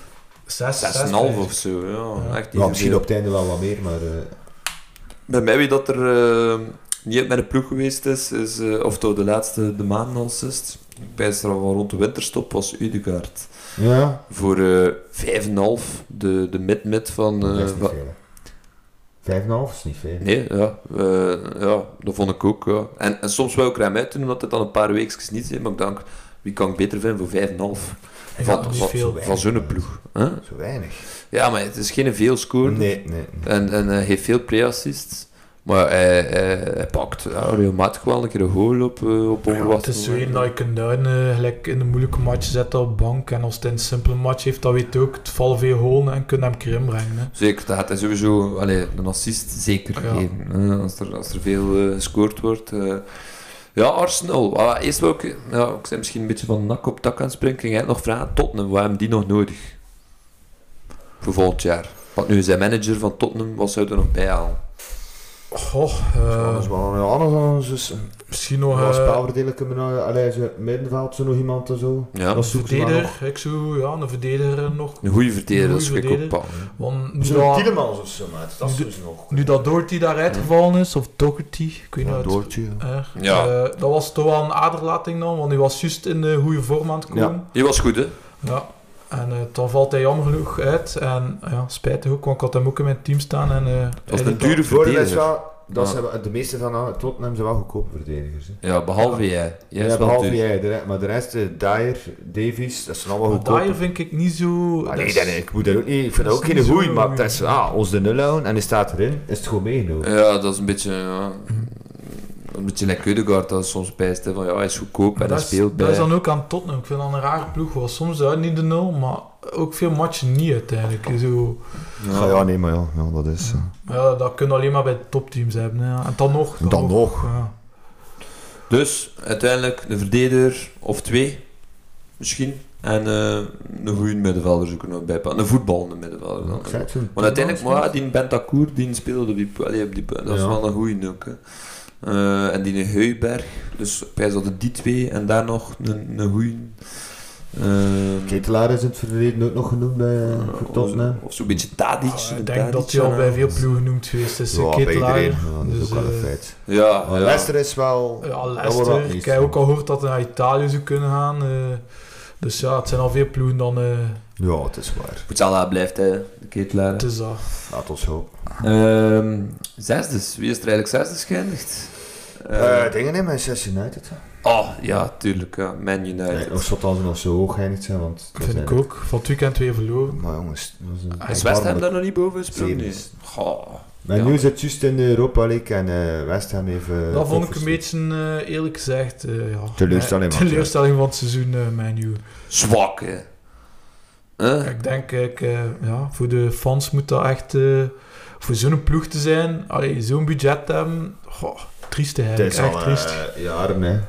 Speaker 3: zes,
Speaker 1: Zes en
Speaker 3: zes,
Speaker 1: een half
Speaker 3: vijf.
Speaker 1: of zo, ja.
Speaker 3: Ja.
Speaker 1: Echt niet
Speaker 2: Ja, misschien
Speaker 1: zoveel.
Speaker 2: op het einde wel wat meer, maar... eh,
Speaker 1: Bij mij wie dat er eh, niet met een ploeg geweest is, is eh, of toch de laatste de maanden al is. Ik wijs er al van rond de winterstop was Udegaard.
Speaker 2: ja,
Speaker 1: Voor eh 5,5, de, de mid-mid van... eh,
Speaker 2: dat is niet
Speaker 1: wa-
Speaker 2: veel. hè. Vijf en een half is niet veel.
Speaker 1: Nee, ja, eh, ja, dat vond ik ook. Ja. En, en soms wou ik er hem uit doen, omdat het dan een paar weekjes niet is. Maar ik denk, wie kan ik beter vinden voor 5,5?
Speaker 3: Ja,
Speaker 1: Van,
Speaker 3: niet
Speaker 1: van,
Speaker 3: veel.
Speaker 1: van zo'n ploeg. hè?
Speaker 2: Zo weinig.
Speaker 1: Ja, maar het is geen veel score.
Speaker 2: Nee, nee. nee.
Speaker 1: En, en hij heeft veel pre-assists. Maar hij, hij, hij pakt ja, regelmatig wel een keer een goal op, eh, op
Speaker 3: Ja, het
Speaker 1: onverwachte
Speaker 3: is zo één dat
Speaker 1: momenten.
Speaker 3: je kunt duiden, eh, gelijk in de moeilijke match zet dat op bank. En als het in een simpele match heeft, dat weet je ook. Het valt veel holen en kunt hem een keer inbrengen. Hè.
Speaker 1: Zeker, dat gaat hij sowieso allee, een assist zeker
Speaker 3: Ja.
Speaker 1: geven. hè, als, er, als er veel eh, gescoord wordt. eh. Ja, Arsenal. Ah, eerst wil ik... Ja, ik zei misschien een beetje van nak op tak aan het springen. Ik ging eigenlijk nog vragen, Tottenham, waar hebben die nog nodig? Voor volgend jaar. Want nu zijn manager van Tottenham, wat zou er nog bij halen?
Speaker 3: Goh, eh,
Speaker 2: Anders wel een anders dan dus
Speaker 3: misschien
Speaker 2: nog
Speaker 3: nog
Speaker 2: een
Speaker 3: eh,
Speaker 2: spelverdelen kunnen we nou, allee, zo middenveld zo nog iemand en zo.
Speaker 1: Ja,
Speaker 2: Dat
Speaker 3: een
Speaker 2: zoeken ze wel
Speaker 3: verdediger.
Speaker 2: nog.
Speaker 3: Ik zou ja, een verdediger eh, nog.
Speaker 1: een goede verdediger,
Speaker 3: Een
Speaker 1: dat
Speaker 3: goeie
Speaker 1: zou ik ook
Speaker 3: verdediger.
Speaker 1: pakken.
Speaker 3: Want nu
Speaker 2: Zo'n
Speaker 3: dat,
Speaker 2: Tielemans of zo, maar dat is
Speaker 3: Nu-
Speaker 2: dus nog.
Speaker 3: nu dat Doherty daar uitgevallen is, of Doherty, ik weet niet
Speaker 2: Ja,
Speaker 3: hoe het-
Speaker 2: Doortje. ja.
Speaker 3: eh,
Speaker 1: Ja.
Speaker 3: eh, dat was toch wel een aderlating dan, want hij was juist in de goede vorm aan het komen.
Speaker 1: Die was goed, hè?
Speaker 3: Ja. En eh, dan valt hij jammer genoeg uit. En ja, spijtig ook, want ik had hem ook in mijn team staan. En, eh,
Speaker 1: Dat
Speaker 3: hij
Speaker 1: is
Speaker 3: deed
Speaker 1: een dure
Speaker 2: Voordeel is
Speaker 1: verdediger.
Speaker 2: wel, dat
Speaker 1: Ja.
Speaker 2: zijn wel- de meeste van ah, Tottenham zijn wel goedkope verdedigers. Hè.
Speaker 1: Ja, behalve jij. Jij
Speaker 2: Ja,
Speaker 1: is wel
Speaker 2: behalve
Speaker 1: duur.
Speaker 2: jij, de re- maar de rest, eh, Dyer, Davies, dat zijn allemaal
Speaker 3: Maar
Speaker 2: goedkope.
Speaker 3: Dyer vind ik niet zo...
Speaker 2: Ah,
Speaker 3: dat
Speaker 2: nee,
Speaker 3: is-
Speaker 2: dat, nee, ik moet dat ook niet, ik vind dat
Speaker 3: dat
Speaker 2: ook
Speaker 3: is
Speaker 2: geen
Speaker 3: niet
Speaker 2: goeie,
Speaker 3: zo-
Speaker 2: maar het is, nou? ah, ons de nul houden en hij staat erin, is het gewoon meegenomen.
Speaker 1: Ja, dat is een beetje... Ja. een beetje naar Keudegaard dat soms bijst. hè, Van ja, hij is goedkoop en hij
Speaker 3: dat, is,
Speaker 1: speelt
Speaker 3: dat
Speaker 1: bij.
Speaker 3: is dan ook aan Tottenham. Ik vind dat een rare ploeg. Was soms uit niet de nul, maar ook veel matchen niet uiteindelijk. Zo,
Speaker 2: Ja, Ah, ja, nee, maar ja, ja dat is... eh.
Speaker 3: ja, dat kunnen alleen maar bij topteams hebben. hè. En dan nog.
Speaker 2: Dan nog.
Speaker 3: Ja.
Speaker 1: Dus uiteindelijk een verdediger of twee, misschien. En eh, een goede middenvelder zoeken we ook bij. Een voetballende middenvelder. Dan.
Speaker 2: Ik zei het toen.
Speaker 1: Want uiteindelijk, maar ja, die Bentacour, die speelde op die... allee, op die dat was
Speaker 2: Ja.
Speaker 1: wel een goeie ook, hè. Eh, en die Heuberg. Dus wij hadden die twee en daar nog een, een goeie... eh,
Speaker 2: Ketelaar is in het verleden ook nog genoemd bij eh,
Speaker 1: eh,
Speaker 2: voor Tottenham.
Speaker 1: of, of zo'n beetje Tadic.
Speaker 3: Ah,
Speaker 1: een
Speaker 3: ik denk dat
Speaker 1: Tadic,
Speaker 3: hij al
Speaker 1: ja.
Speaker 3: bij veel ploegen genoemd geweest is.
Speaker 2: Ja, bij
Speaker 3: Ketelaar.
Speaker 2: iedereen. Ja, dat is
Speaker 3: Dus,
Speaker 2: ook wel een
Speaker 3: eh,
Speaker 2: feit.
Speaker 1: Ja,
Speaker 2: Maar
Speaker 1: Ah, ja.
Speaker 2: Oh, Leicester is wel...
Speaker 3: Ja,
Speaker 2: wordt
Speaker 3: eh, Leicester.
Speaker 2: dat
Speaker 3: Ik
Speaker 2: niet.
Speaker 3: heb ook al gehoord dat hij naar Italië zou kunnen gaan. eh. dus ja, het zijn al veel ploegen dan... eh
Speaker 2: Ja, het is waar.
Speaker 1: Goed, Salah blijft, hè, de ketelaar.
Speaker 3: het is dat.
Speaker 2: Laat ons hopen.
Speaker 1: Ehm zesdes. Wie is er eigenlijk zesdes geëindigd? Eh,
Speaker 2: Eh, dingen in Manchester United. hè.
Speaker 1: oh, ja, tuurlijk. Ja. Man United.
Speaker 2: Nee, of zat ze nog zo hoog geëindigd zijn, want... dat
Speaker 3: Vind
Speaker 2: zijn
Speaker 3: ik ook. Van het weekend weer verloren.
Speaker 2: Maar jongens, dat was
Speaker 3: Ah,
Speaker 2: een...
Speaker 1: Ah, is West Ham
Speaker 2: erbarmelijk-
Speaker 1: daar nog niet boven gesproken? Nee.
Speaker 2: Zevens.
Speaker 1: Goh.
Speaker 2: Maar
Speaker 1: Ja.
Speaker 2: nu zit juist in de Europa League en eh West Ham even...
Speaker 3: dat vond ik een
Speaker 2: opgestuurd.
Speaker 3: beetje, eh, eerlijk gezegd... eh, ja,
Speaker 2: Teleurstelling,
Speaker 3: eh,
Speaker 2: want, ja.
Speaker 3: [laughs] teleurstelling van het seizoen, eh menu.
Speaker 1: Zwak, hè. Huh?
Speaker 3: Ik denk, ik, eh, ja, voor de fans moet dat echt... eh, voor zo'n ploeg te zijn, allee, zo'n budget te hebben... Goh, triest
Speaker 2: Het
Speaker 3: eigenlijk.
Speaker 2: is
Speaker 3: Echt
Speaker 2: al
Speaker 3: triest.
Speaker 2: eh, jaren, hè.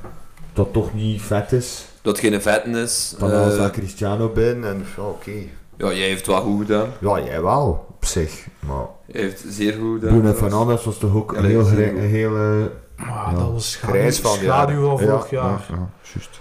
Speaker 2: Dat toch niet vet is.
Speaker 1: Dat geen vetten is.
Speaker 2: Dan
Speaker 1: eh,
Speaker 2: als ik Cristiano ben en ja, oké.
Speaker 1: ja, jij heeft wel goed gedaan.
Speaker 2: Ja, jij wel, op zich. Maar
Speaker 1: Jij heeft zeer goed gedaan.
Speaker 2: Bruno Fernandes was toch ook
Speaker 1: Ja,
Speaker 2: een
Speaker 1: nee,
Speaker 2: heel,
Speaker 1: dat is
Speaker 2: gri-
Speaker 1: goed.
Speaker 2: een heel eh, Ja.
Speaker 3: Maar dat was schaduw,
Speaker 2: grijs van die
Speaker 3: schaduw van
Speaker 2: jaren.
Speaker 3: vorig
Speaker 2: Ja,
Speaker 3: jaar.
Speaker 2: Ja, ja, juist.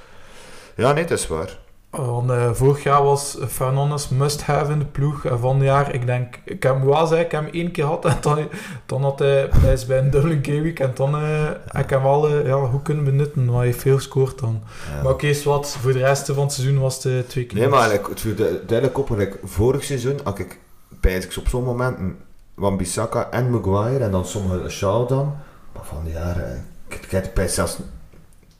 Speaker 2: Ja, nee, dat is waar.
Speaker 3: Want eh, vorig jaar was Fernandes must-have in de ploeg. En van het jaar, ik denk, ik heb hem wel zeggen, ik heb hem één keer gehad. En dan, dan had hij hij is bij een Dublin Game Week. En dan eh ik heb hem wel eh, ja, goed kunnen benutten, want hij heeft veel gescoord dan.
Speaker 2: Ja.
Speaker 3: Maar oké, is wat. Voor de rest van het seizoen was het eh, twee keer.
Speaker 2: Nee, maar eigenlijk, het viel du- duidelijk op, eigenlijk, vorig seizoen had ik bijzonder op zo'n momenten Wan-Bissaka en Maguire en dan sommige Shaw dan. Maar van die jaren, eh, ik ik heb bij zelfs...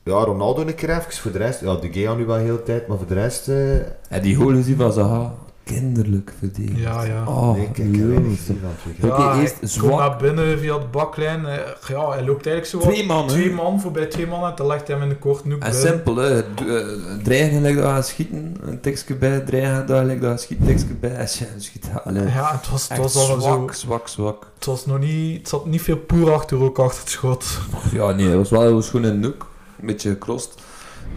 Speaker 2: Ja, Ronaldo een keer even, voor de rest... Ja, De Gea nu wel heel de tijd, maar voor de rest... eh,
Speaker 1: En die goal is die van Zaha. Kinderlijk verdeeld.
Speaker 3: Ja, ja.
Speaker 1: Oh,
Speaker 2: nee, kijk, eh, ik heb
Speaker 1: Lord.
Speaker 2: weinig gezien van het weekend.
Speaker 1: Ja. oké, eerst
Speaker 3: hij
Speaker 1: zwak.
Speaker 3: komt naar binnen via de baklijn. eh, ja, hij loopt eigenlijk zo wat-
Speaker 1: Twee man, hè?
Speaker 3: Twee man, voorbij twee man. En dan legt hij hem in de korte noek
Speaker 1: En
Speaker 3: binnen.
Speaker 1: simpel, hè. Het, eh, Dreigen lijkt dat aan schieten. Een tekstje bij. Dreigen daar lijkt dat aan schieten. Tekstje bij. [laughs] En je schiet dat alleen.
Speaker 3: Ja, het was, het
Speaker 1: Echt
Speaker 3: was al zo...
Speaker 1: zwak, zwak, zwak.
Speaker 3: Het was nog niet... Het zat niet veel poer achter, ook achter het schot.
Speaker 1: Ja, nee, het was wel heel schoon in de noek. Een beetje gekrost.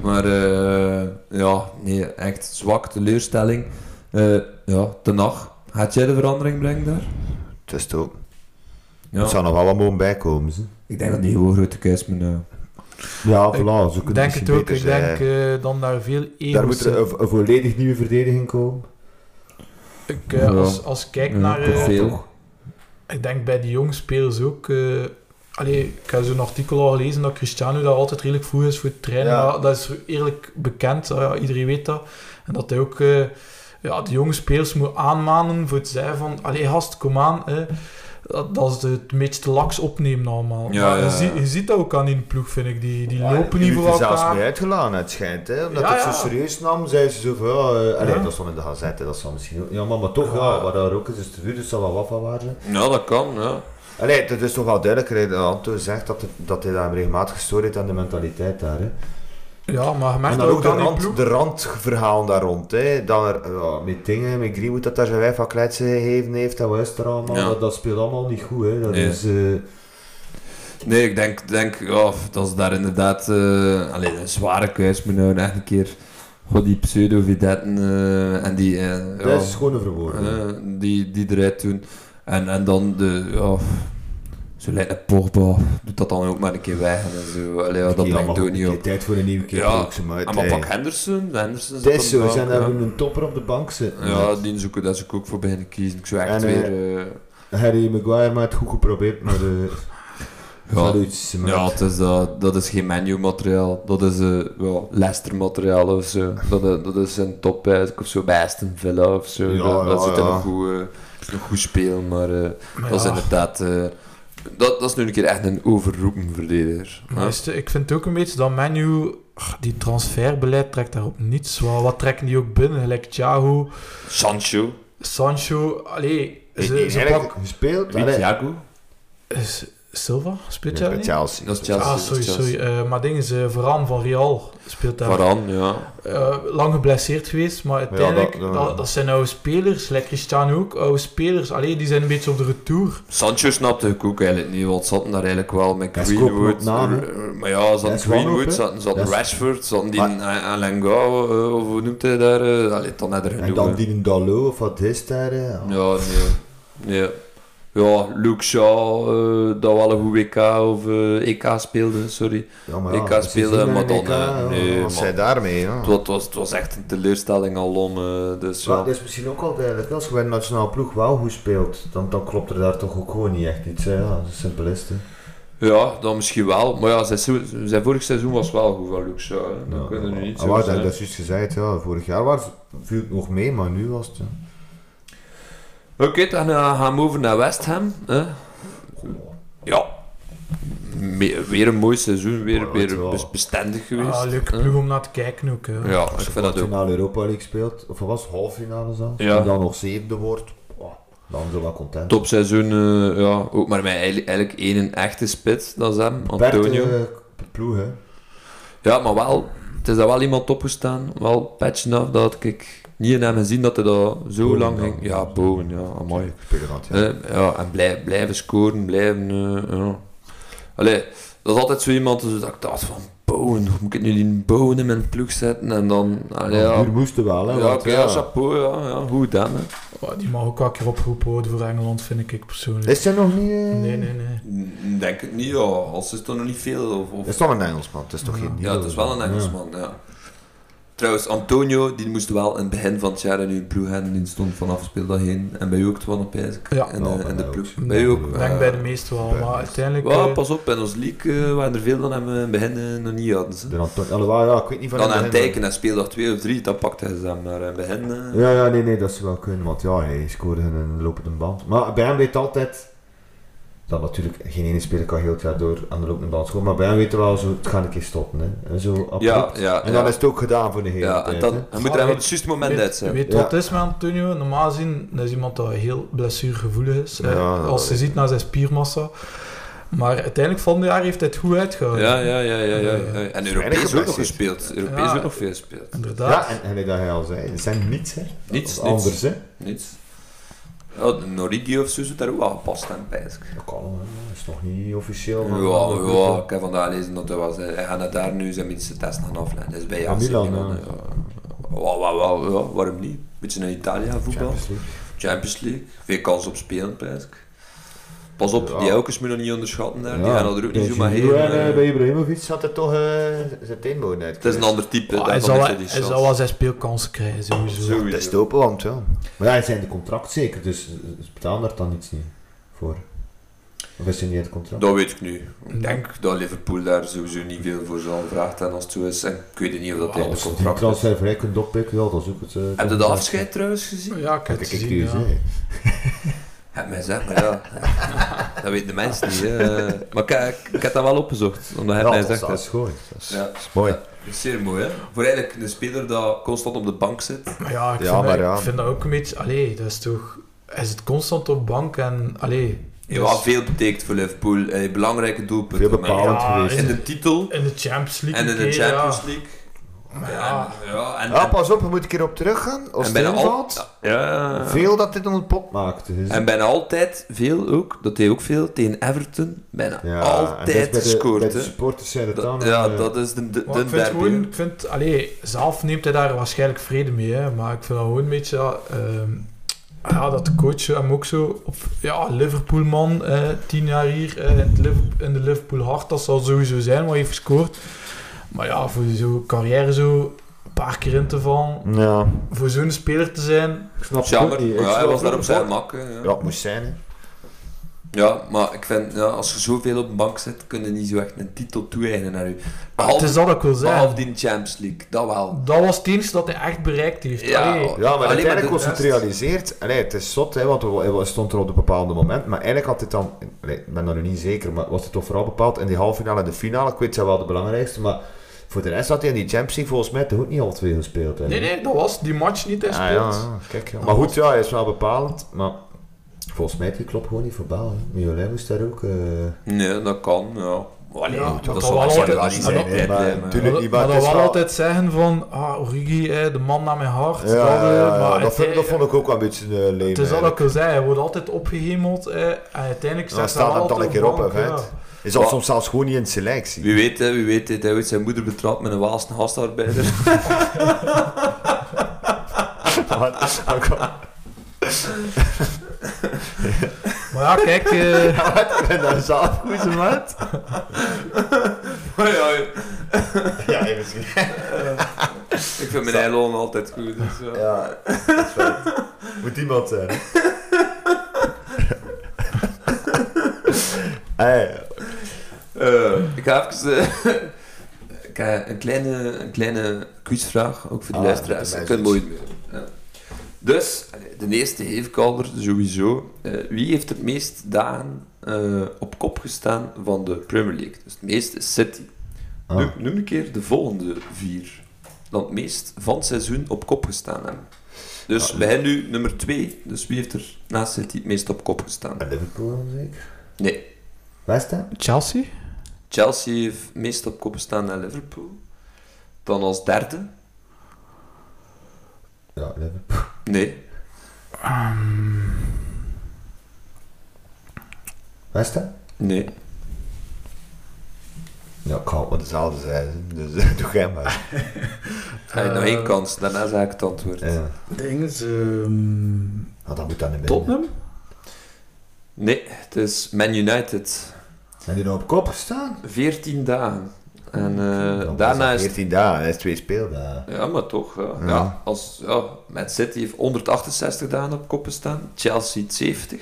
Speaker 1: Maar eh, ja, nee, echt zwak, teleurstelling. Eh, ja, ten nacht. Gaat jij de verandering brengen daar?
Speaker 2: Het is toch... Het
Speaker 1: Ja.
Speaker 2: zou nog wel wat mogen bijkomen, ze.
Speaker 1: Ik denk dat die gewoon grote keus moet nou.
Speaker 2: Ja,
Speaker 3: Ik
Speaker 2: voilà, zo
Speaker 3: Ik
Speaker 2: kunnen
Speaker 3: denk
Speaker 2: ze
Speaker 3: het ook.
Speaker 2: beter
Speaker 3: Ik
Speaker 2: zijn.
Speaker 3: denk eh, dan daar veel
Speaker 2: Daar
Speaker 3: ego's
Speaker 2: moet er
Speaker 3: in.
Speaker 2: een, een volledig nieuwe verdediging komen.
Speaker 3: Ik, eh,
Speaker 1: Ja.
Speaker 3: als, als ik kijk
Speaker 1: Ja,
Speaker 3: naar...
Speaker 1: te
Speaker 3: eh,
Speaker 1: veel.
Speaker 3: ik denk bij die jonge spelers ook... eh, allee, ik heb zo'n artikel al gelezen dat Cristiano daar altijd redelijk vroeg is voor het trainen.
Speaker 2: Ja.
Speaker 3: Ja, Dat is eerlijk bekend. ja, iedereen weet dat. En dat hij ook... eh, ja, de jonge spelers moet aanmanen voor het zeggen van... Allee, gast, kom aan. eh." dat, dat ze het een beetje te laks opnemen allemaal.
Speaker 1: Ja, ja,
Speaker 3: Maar je,
Speaker 1: ja.
Speaker 3: zie- je ziet dat ook aan die ploeg, vind ik. Die, die
Speaker 2: Die
Speaker 3: lopen niet voor
Speaker 2: werd er zelfs
Speaker 3: elkaar.
Speaker 2: mee uitgelaten, het schijnt. Hè? Omdat
Speaker 3: Ja,
Speaker 2: het
Speaker 3: ja.
Speaker 2: zo serieus nam, zeiden ze zo van... Ja, eh, allee,
Speaker 3: Ja.
Speaker 2: dat stond in de gazette, dat zal misschien ook... Ja, maar, maar toch,
Speaker 3: Ja.
Speaker 2: ja, wat daar ook is, is te vuur, dus zal wel wat van waar zijn.
Speaker 1: Ja, dat kan, ja.
Speaker 2: Allee, het is toch wel duidelijk dat Anto zegt dat, het, dat hij daar regelmatig gestoord heeft aan de mentaliteit daar. Hè?
Speaker 3: Ja, maar je merkt
Speaker 2: en
Speaker 3: dat
Speaker 2: dan ook
Speaker 3: ook
Speaker 2: de,
Speaker 3: aan die ploeg.
Speaker 2: rand, de randverhaal daar rond. Hè? Dat er, ja, met dingen, met Greenwood dat daar zijn wijf van kletsen gegeven heeft, dat was er allemaal.
Speaker 1: Ja.
Speaker 2: Dat, dat speelt allemaal niet goed. Hè? Dat
Speaker 1: Nee.
Speaker 2: is... eh,
Speaker 1: Nee, ik denk, denk ja, dat ze daar inderdaad eh, allee, een zware keus moeten houden. Echt een keer god, die pseudo-videtten eh, en die... eh, ja,
Speaker 2: Dat is gewoon een verwoording.
Speaker 1: eh, die, die eruit doen. En, en dan de... Ja, zo lijkt een Pogba. Doet dat dan ook maar een keer weg. En zo. Allee, ja, dat
Speaker 2: Die
Speaker 1: brengt
Speaker 2: allemaal
Speaker 1: ook niet
Speaker 2: goed.
Speaker 1: op.
Speaker 2: Tijd voor een nieuwe keer.
Speaker 1: Ja,
Speaker 2: Ja, ze maar uit,
Speaker 1: En maar
Speaker 2: hey.
Speaker 1: pak Henderson. Henderson
Speaker 2: Het
Speaker 1: zit
Speaker 2: is
Speaker 1: op
Speaker 2: zo,
Speaker 1: de
Speaker 2: ze zijn
Speaker 1: bank,
Speaker 2: daar
Speaker 1: ja.
Speaker 2: een topper op de bank zitten.
Speaker 1: Ja, die zoeken dat ze ook voor beginnen kiezen. Ik zou echt
Speaker 2: En, eh,
Speaker 1: weer... eh,
Speaker 2: Harry Maguire maar het goed geprobeerd, maar eh, de...
Speaker 1: ja,
Speaker 2: iets, maar
Speaker 1: ja, het is dat, dat is geen menu-materiaal. Dat is eh wel Leicester-materiaal of zo. Dat, eh, dat is een top eigenlijk of zo bij Aston Villa of zo.
Speaker 2: Ja,
Speaker 1: dat dat
Speaker 2: ja,
Speaker 1: zit in
Speaker 2: ja.
Speaker 1: een goed, eh, een goed speel, maar... eh,
Speaker 3: Maar
Speaker 1: Dat is
Speaker 3: ja,
Speaker 1: inderdaad... eh, dat, dat is nu een keer echt een overroepen verdediger.
Speaker 3: maar is het- ik vind het ook een beetje dat menu... Die transferbeleid trekt daarop niets. Wat, wat trekken die ook binnen? Gelijk Thiago,
Speaker 1: Sancho.
Speaker 3: Sancho... Allee,
Speaker 2: Is,
Speaker 3: ze, ze,
Speaker 2: E- eigenlijk
Speaker 3: pak-
Speaker 2: gespeeld?
Speaker 1: Wie?
Speaker 2: Allee,
Speaker 1: Thiago.
Speaker 3: ze, Silva speelt
Speaker 2: Ja,
Speaker 3: daar
Speaker 2: bij
Speaker 3: niet?
Speaker 2: Chelsea.
Speaker 1: Dat is Chelsea.
Speaker 3: ah, sorry,
Speaker 1: Chelsea.
Speaker 3: sorry. Eh, maar dingen ze Varaan van Real speelt daar.
Speaker 1: Varaan, ja.
Speaker 3: Eh, lang geblesseerd geweest, maar uiteindelijk,
Speaker 2: dat- dat-
Speaker 3: dat, dat, zijn oude spelers. Like Cristiano ook, oude spelers. Alleen die zijn een beetje op de retour.
Speaker 1: Sancho snapte ik ook eigenlijk niet, want ze hadden daar eigenlijk wel met
Speaker 2: Ja, ze kopen
Speaker 1: Greenwood.
Speaker 2: op naam, hè.
Speaker 1: r- r- maar ja, ze
Speaker 2: Dat
Speaker 1: hadden
Speaker 2: is wanhoop,
Speaker 1: Greenwood,
Speaker 2: hè.
Speaker 1: ze hadden, ze hadden
Speaker 2: Dat is-
Speaker 1: Rashford, ze hadden die
Speaker 2: Maar-
Speaker 1: A- Alangao, eh, of hoe noemt hij daar? eh, Allee, dan had er
Speaker 2: En
Speaker 1: genoeg.
Speaker 2: dan
Speaker 1: hè.
Speaker 2: die een Dalo of wat is daar? hè? Ja.
Speaker 1: Ja, nee. nee. Ja, Luke Shaw, eh, dat wel een goed WK of eh, EK speelde, sorry.
Speaker 2: Ja, maar
Speaker 1: EK
Speaker 2: dat is
Speaker 1: spelen,
Speaker 2: niet
Speaker 1: maar
Speaker 2: meer
Speaker 1: dan,
Speaker 2: EK,
Speaker 1: eh, nee,
Speaker 2: ja.
Speaker 1: man.
Speaker 4: Wat zij daarmee, ja.
Speaker 1: Het wa- het was, het was echt een teleurstelling alom, eh dus
Speaker 2: Maar
Speaker 1: ja.
Speaker 2: dat is misschien ook wel duidelijk. Als je bij de nationale ploeg wel goed speelt, dan, dan klopt er daar toch ook gewoon niet echt iets. Hè? Ja, simpel is het. hè.
Speaker 1: Ja, dan misschien wel. Maar ja, zijn, seizoen- zijn vorig seizoen was wel goed van Luke Shaw. hè.
Speaker 2: Ja,
Speaker 1: Dat kunnen we nu
Speaker 2: ja.
Speaker 1: niet
Speaker 2: Ah, waar,
Speaker 1: zo
Speaker 2: dat,
Speaker 1: zeggen.
Speaker 2: dat is juist gezegd, ja. Vorig jaar was, viel het nog mee, maar nu was het... Ja. dus-
Speaker 1: Oké, dan eh, gaan we over naar West Ham. Hè? Ja. Me- weer een mooi seizoen, weer,
Speaker 2: Ja,
Speaker 1: weer
Speaker 2: het wel.
Speaker 1: bes- bestendig geweest.
Speaker 3: Ah, leuke
Speaker 1: hè.
Speaker 3: ploeg om naar te kijken ook. hè.
Speaker 1: Ja, ik
Speaker 2: Als je
Speaker 1: vind dat ook.
Speaker 2: finale Europa League speelt, of wat was het, halve finale zo,
Speaker 1: Ja.
Speaker 2: en dan nog zevende wordt, oh, dan zijn we wel content.
Speaker 1: Topseizoen, eh, ja. Ook maar met eigenlijk, eigenlijk één echte spits, dat is hem,
Speaker 2: Bert,
Speaker 1: Antonio.
Speaker 2: eh, ploeg, hè.
Speaker 1: Ja, maar wel, het is daar wel iemand opgestaan. Wel patchen af dat ik niet in hem gezien dat hij dat zo
Speaker 2: Bowen
Speaker 1: lang
Speaker 2: dan.
Speaker 1: ging. Ja, boven, ja, amai.
Speaker 2: Spelerhand, ja.
Speaker 1: Eh, ja, en blij- blijven scoren, blijven. eh, ja. Allee, dat is altijd zo iemand dus dat ik dacht van Bowen, hoe moet ik nu die Bowen in mijn ploeg zetten? En dan, allee,
Speaker 2: Maar
Speaker 1: ja.
Speaker 2: Duur moesten wel, hè.
Speaker 1: Ja, oké,
Speaker 2: want, eh,
Speaker 1: ja, chapeau, ja, ja, goed dan. Hè.
Speaker 3: Maar die mag ook wel een keer opgeroepen worden voor Engeland, vind ik persoonlijk.
Speaker 2: Is hij nog niet... eh,
Speaker 3: Nee, nee, nee.
Speaker 1: Denk het niet, ja. Als is toch nog niet veel. Of,
Speaker 2: Het is toch een Engelsman, het is toch
Speaker 3: Ja.
Speaker 2: geen
Speaker 1: Ja, het is wel een
Speaker 2: Ja.
Speaker 1: Engelsman, ja. Trouwens, Antonio, die moest wel in het begin van het jaar in uw ploeg hebben. Die stond vanaf speeldag heen. En bij u ook, Twan, opeens.
Speaker 3: Ja.
Speaker 1: En,
Speaker 2: Ja,
Speaker 1: eh,
Speaker 2: bij
Speaker 1: en de
Speaker 2: mij
Speaker 1: ploeg.
Speaker 2: ook.
Speaker 1: Bij u ook.
Speaker 2: Ik
Speaker 3: Ik
Speaker 1: eh,
Speaker 3: denk bij de meesten wel,
Speaker 2: bij de
Speaker 3: maar
Speaker 2: meesten.
Speaker 3: uiteindelijk...
Speaker 1: ja,
Speaker 3: eh,
Speaker 1: pas op, in ons league eh, waren er veel dan hebben we in het begin eh, nog niet hadden. Ze.
Speaker 2: De Antonio- Alhoewel, ja, ik weet niet van...
Speaker 1: Dan
Speaker 2: hem
Speaker 1: aan het
Speaker 2: begin,
Speaker 1: kijken en speeldag 2 of 3, dan pakte hij ze hem. Maar in het begin... eh,
Speaker 2: Ja, ja, nee, nee, dat zou wel kunnen, want ja, hij scoorde in een lopende band. Maar bij hem weet altijd, dat natuurlijk geen ene speler kan heel het jaar door aan de lopende band scoren, maar bij hem weet wel, zo, het gaat een keer stoppen, hè. En Zo abrupt.
Speaker 1: ja, ja.
Speaker 2: en dan
Speaker 1: ja.
Speaker 2: is het ook gedaan voor de hele
Speaker 1: ja, en
Speaker 2: tijd,
Speaker 1: dan,
Speaker 2: hè.
Speaker 1: hij moet er
Speaker 3: Ja,
Speaker 1: even op
Speaker 3: weet-
Speaker 1: het juiste moment uit
Speaker 3: Weet,
Speaker 1: zijn.
Speaker 3: weet
Speaker 2: Ja.
Speaker 3: wat het is met Antonio? Normaal gezien dat is iemand dat heel blessuregevoelig is. eh,
Speaker 2: Ja, dat
Speaker 3: als je
Speaker 2: weet
Speaker 3: ziet naar zijn spiermassa. Maar uiteindelijk van het jaar heeft hij het goed uitgehouden.
Speaker 1: Ja, ja, ja, ja, ja.
Speaker 3: Ja.
Speaker 1: En
Speaker 2: Weinig
Speaker 1: Europees ook nog
Speaker 2: geblesseerd.
Speaker 1: gespeeld. Europees
Speaker 3: Ja.
Speaker 1: ook nog veel gespeeld.
Speaker 3: Inderdaad. Ah,
Speaker 2: Ja, en, en dat hij al zei, het zijn niets, hè.
Speaker 1: Niets,
Speaker 2: Of
Speaker 1: niets.
Speaker 2: Anders, hè.
Speaker 1: Niets. Ja, de Norigi of zo zou daar ook wel gepast aan, pijs ik.
Speaker 2: Dat kan, hè. Dat is nog niet officieel.
Speaker 1: Ja,
Speaker 2: maar-
Speaker 1: ja, ik heb vandaag gelezen dat hij was. hè. Hij gaat het daar nu zijn minste test gaan afleggen. Dat is bij
Speaker 2: Van
Speaker 1: AC
Speaker 2: Milan,
Speaker 1: Milan,
Speaker 2: ja.
Speaker 1: hè. Ja. Wa- wa- wa- ja, waarom niet? Beetje naar Italië gaan voetbal.
Speaker 2: Champions League.
Speaker 1: Champions League. Veel kans op spelen, pijs ik. Pas op,
Speaker 2: Ja.
Speaker 1: die Elkes moet je nog niet onderschatten daar. Die
Speaker 2: Ja.
Speaker 1: gaan er ook niet
Speaker 2: Bij
Speaker 1: zomaar heen.
Speaker 2: Giroud en, eh,
Speaker 1: hè.
Speaker 2: Bij Ibrahimovic had hij toch eh, zijn teenboden uit.
Speaker 1: Het is een ander type.
Speaker 3: Ah,
Speaker 1: daarvan
Speaker 3: hij,
Speaker 1: heeft
Speaker 3: zal,
Speaker 1: hij
Speaker 3: wel-
Speaker 1: die
Speaker 3: hij
Speaker 1: chance.
Speaker 3: zal wel zijn speelkansen krijgen, sowieso.
Speaker 1: Sowieso.
Speaker 4: Dat is het openland, ja.
Speaker 2: Maar ja, hij zijn de contract zeker, dus eh, ze betalen daar dan iets niet voor. Of is hij niet in het contract?
Speaker 1: Dat weet ik nu.
Speaker 3: Ik denk...
Speaker 1: Dat Liverpool daar sowieso niet veel voor zal vragen. En als het zo is, en ik weet niet of dat
Speaker 3: Ja,
Speaker 1: hij in
Speaker 2: Als
Speaker 1: de
Speaker 2: je die
Speaker 1: contract is.
Speaker 2: transfer vrij kunt oppikken, ja, dan zoek het. eh,
Speaker 1: Heb je de
Speaker 2: contract.
Speaker 1: afscheid trouwens gezien?
Speaker 3: Ja, ik heb
Speaker 2: Kijk, ik
Speaker 3: het gezien,
Speaker 2: nu
Speaker 3: ja.
Speaker 2: eens, hè.
Speaker 1: Ja, maar zeg maar, ja. [laughs] dat weten de mensen niet. Hè. Maar ik, ik, ik heb dat wel opgezocht, omdat hij
Speaker 2: Ja,
Speaker 1: het mij
Speaker 2: dat is-
Speaker 1: zegt.
Speaker 2: dat is goed. Dat is-
Speaker 1: Ja,
Speaker 2: dat is mooi.
Speaker 1: dat is zeer mooi, hè. Voor eigenlijk een speler dat constant op de bank zit.
Speaker 3: Maar ja, ik,
Speaker 4: Ja,
Speaker 3: vind,
Speaker 4: maar
Speaker 3: dat,
Speaker 4: ja.
Speaker 3: ik vind dat ook een beetje... Allee, dat is toch... Hij zit constant op bank en... Allee...
Speaker 1: Ja,
Speaker 3: dus
Speaker 1: veel betekent voor Liverpool. Eh, belangrijke doelpunten.
Speaker 2: Veel
Speaker 1: maar
Speaker 2: bepalend
Speaker 3: Ja,
Speaker 2: geweest.
Speaker 1: In de titel
Speaker 3: In de Champions League
Speaker 1: en in
Speaker 3: een
Speaker 1: de
Speaker 3: keer, ja.
Speaker 1: Champions League.
Speaker 3: Maar
Speaker 1: Ja,
Speaker 3: ja.
Speaker 1: en, ja, en,
Speaker 4: Ah,
Speaker 1: en,
Speaker 4: pas op, we moeten een keer op teruggaan. Als het
Speaker 1: en bijna al-
Speaker 4: invalt,
Speaker 1: ja.
Speaker 4: veel dat dit ons pot...
Speaker 2: Maakte dus.
Speaker 1: En bijna altijd veel ook, dat deed ook veel, tegen Everton. Bijna
Speaker 2: Ja, en dat is
Speaker 1: altijd
Speaker 2: bij de- bij
Speaker 1: gescoord,
Speaker 2: de
Speaker 1: hè.
Speaker 2: supporters zijn het
Speaker 1: Dat-
Speaker 2: dan.
Speaker 1: Ja,
Speaker 2: eh,
Speaker 1: dat is de, de,
Speaker 3: Maar
Speaker 1: de
Speaker 3: ik vind
Speaker 1: derby.
Speaker 3: gewoon,
Speaker 1: hè.
Speaker 3: ik vind, allee, zelf neemt hij daar waarschijnlijk vrede mee, hè, maar ik vind dat gewoon een beetje ja, ehm, ja, dat de coach hem ook zo op, ja, Liverpool-man, eh, tien jaar hier eh, in, het Liv- in de Liverpool hart, dat zal sowieso zijn wat hij heeft gescoord. Maar ja, voor zo'n carrière zo een paar keer in te vallen,
Speaker 2: Ja,
Speaker 3: voor zo'n speler te zijn,
Speaker 2: ik snap het ook
Speaker 1: Jammer,
Speaker 2: niet. Ik
Speaker 1: maar ja, hij
Speaker 2: snap
Speaker 1: was
Speaker 2: het
Speaker 1: daar
Speaker 2: ook
Speaker 1: op zijn
Speaker 2: niet.
Speaker 1: mak. hè, ja.
Speaker 2: Ja, het moest zijn, hè.
Speaker 1: Ja, maar ik vind, ja, als je zoveel op de bank zit, kun je niet zo echt een titel toe-eigenen naar u.
Speaker 3: het is
Speaker 1: Behalve,
Speaker 3: dat ik wil
Speaker 1: behalve
Speaker 3: zeggen.
Speaker 1: die Champions League, dat wel.
Speaker 3: Dat was het enige dat hij echt bereikt heeft.
Speaker 1: Ja,
Speaker 3: Allee,
Speaker 1: Alleen
Speaker 2: Ja,
Speaker 1: maar
Speaker 2: maar uiteindelijk
Speaker 1: de
Speaker 2: was het
Speaker 1: rest-
Speaker 2: realiseerd. Allee, het is zot, hè, want hij was- stond er op een bepaald moment. Maar eigenlijk had dit dan, allee, ik ben daar nu niet zeker, maar was het toch vooral bepaald in die halve finale en de finale? Ik weet zijn wel de belangrijkste, maar voor de rest had hij in die Champions League volgens mij toch ook niet al twee gespeeld. Hè?
Speaker 3: nee, nee, dat was die match niet, hij
Speaker 2: Ah,
Speaker 3: speelt.
Speaker 2: ja, ja, kijk, ja. Maar goed, ja, hij is wel bepalend. Maar Volgens mij die klopt gewoon niet voor Baal. hè. Mignolet moest daar ook... eh,
Speaker 1: Nee, dat kan, ja. Allee,
Speaker 3: Ja,
Speaker 1: dat,
Speaker 3: dat
Speaker 1: is
Speaker 3: zal
Speaker 1: wel
Speaker 3: wel
Speaker 1: zal
Speaker 3: altijd-
Speaker 1: wel niet
Speaker 3: dat-
Speaker 1: zijn. hè,
Speaker 2: maar
Speaker 1: nee, maar-
Speaker 2: tuurlijk-
Speaker 3: Maar,
Speaker 2: niet,
Speaker 3: dat-
Speaker 2: maar
Speaker 3: maar
Speaker 2: het
Speaker 3: dat
Speaker 2: is
Speaker 3: wel
Speaker 2: wel-
Speaker 3: altijd zeggen van, ah, Origi, hè, de man naar mijn hart.
Speaker 2: Ja,
Speaker 3: dat, eh,
Speaker 2: ja, dat,
Speaker 3: maar
Speaker 2: vind, dat
Speaker 3: uiteindelijk-
Speaker 2: vond ik ook wel een beetje eh leem.
Speaker 3: Het is al wat
Speaker 2: eigenlijk.
Speaker 3: ik wil zeggen, hij wordt altijd opgehemeld eh, en uiteindelijk
Speaker 2: Dan
Speaker 3: staat
Speaker 2: staat
Speaker 3: hij
Speaker 2: hem
Speaker 3: altijd
Speaker 2: dan een keer op, hè,
Speaker 3: bank,
Speaker 2: vet.
Speaker 3: ja.
Speaker 2: Hij zat soms zelfs gewoon niet in de selectie.
Speaker 1: Wie weet, hè, wie weet, hij heeft ooit zijn moeder betrapt met een Waalse gastarbeider. [laughs]
Speaker 2: [laughs] Maar- maar kom-
Speaker 3: Maar ja,
Speaker 2: [laughs]
Speaker 3: kijk, eh,
Speaker 2: Ik ben daar zelf goed ze maat.
Speaker 1: Maar ja, ik
Speaker 2: Ja, ja, misschien.
Speaker 1: vind mijn eilon altijd goed. Dus, ja.
Speaker 2: Ja, dat is waar. Moet iemand zijn. [laughs] hey,
Speaker 1: Eh, ik ga even... eh, [laughs] ik ga een kleine, een kleine quizvraag, ook voor de
Speaker 2: Ah,
Speaker 1: luisteraars.
Speaker 2: de
Speaker 1: Ik
Speaker 2: meisjes.
Speaker 1: kan nooit meer. Ja. Dus, de eerste heefkalder sowieso. Eh, wie heeft het meest dagen eh, op kop gestaan van de Premier League? Dus het meest is City.
Speaker 2: Ah.
Speaker 1: Noem, noem een keer de volgende vier. Dan het meest van het seizoen op kop gestaan hebben. Dus
Speaker 2: Ah,
Speaker 1: we hebben nu nummer twee. Dus wie heeft er naast City het meest op kop gestaan?
Speaker 2: Liverpool zeker?
Speaker 1: Nee.
Speaker 2: West Ham?
Speaker 3: Chelsea?
Speaker 1: Chelsea heeft het meest op kop gestaan naar Liverpool. Dan als derde.
Speaker 2: Ja, Liverpool.
Speaker 1: Nee.
Speaker 2: West Ham?
Speaker 1: Nee.
Speaker 2: Ja, ik kan wel dezelfde zijn, dus [laughs] eh, doe jij maar.
Speaker 1: Hij nog nou
Speaker 3: Eh,
Speaker 1: één kans, daarna zeg ik het antwoord.
Speaker 2: Ja,
Speaker 3: Ding is, ehm,
Speaker 2: nou, dat moet dan niet meer.
Speaker 3: Tottenham?
Speaker 1: Nee, het is Man United.
Speaker 2: Zijn die nou op kop gestaan?
Speaker 1: 14 dagen. En eh,
Speaker 2: Dan
Speaker 1: daarna
Speaker 2: was
Speaker 1: is
Speaker 2: het 14 dagen, dat is twee speeldagen.
Speaker 1: Ja, maar toch. Ja.
Speaker 2: Ja.
Speaker 1: Ja, als, ja, Man City heeft 168 dagen op koppen staan. Chelsea 70.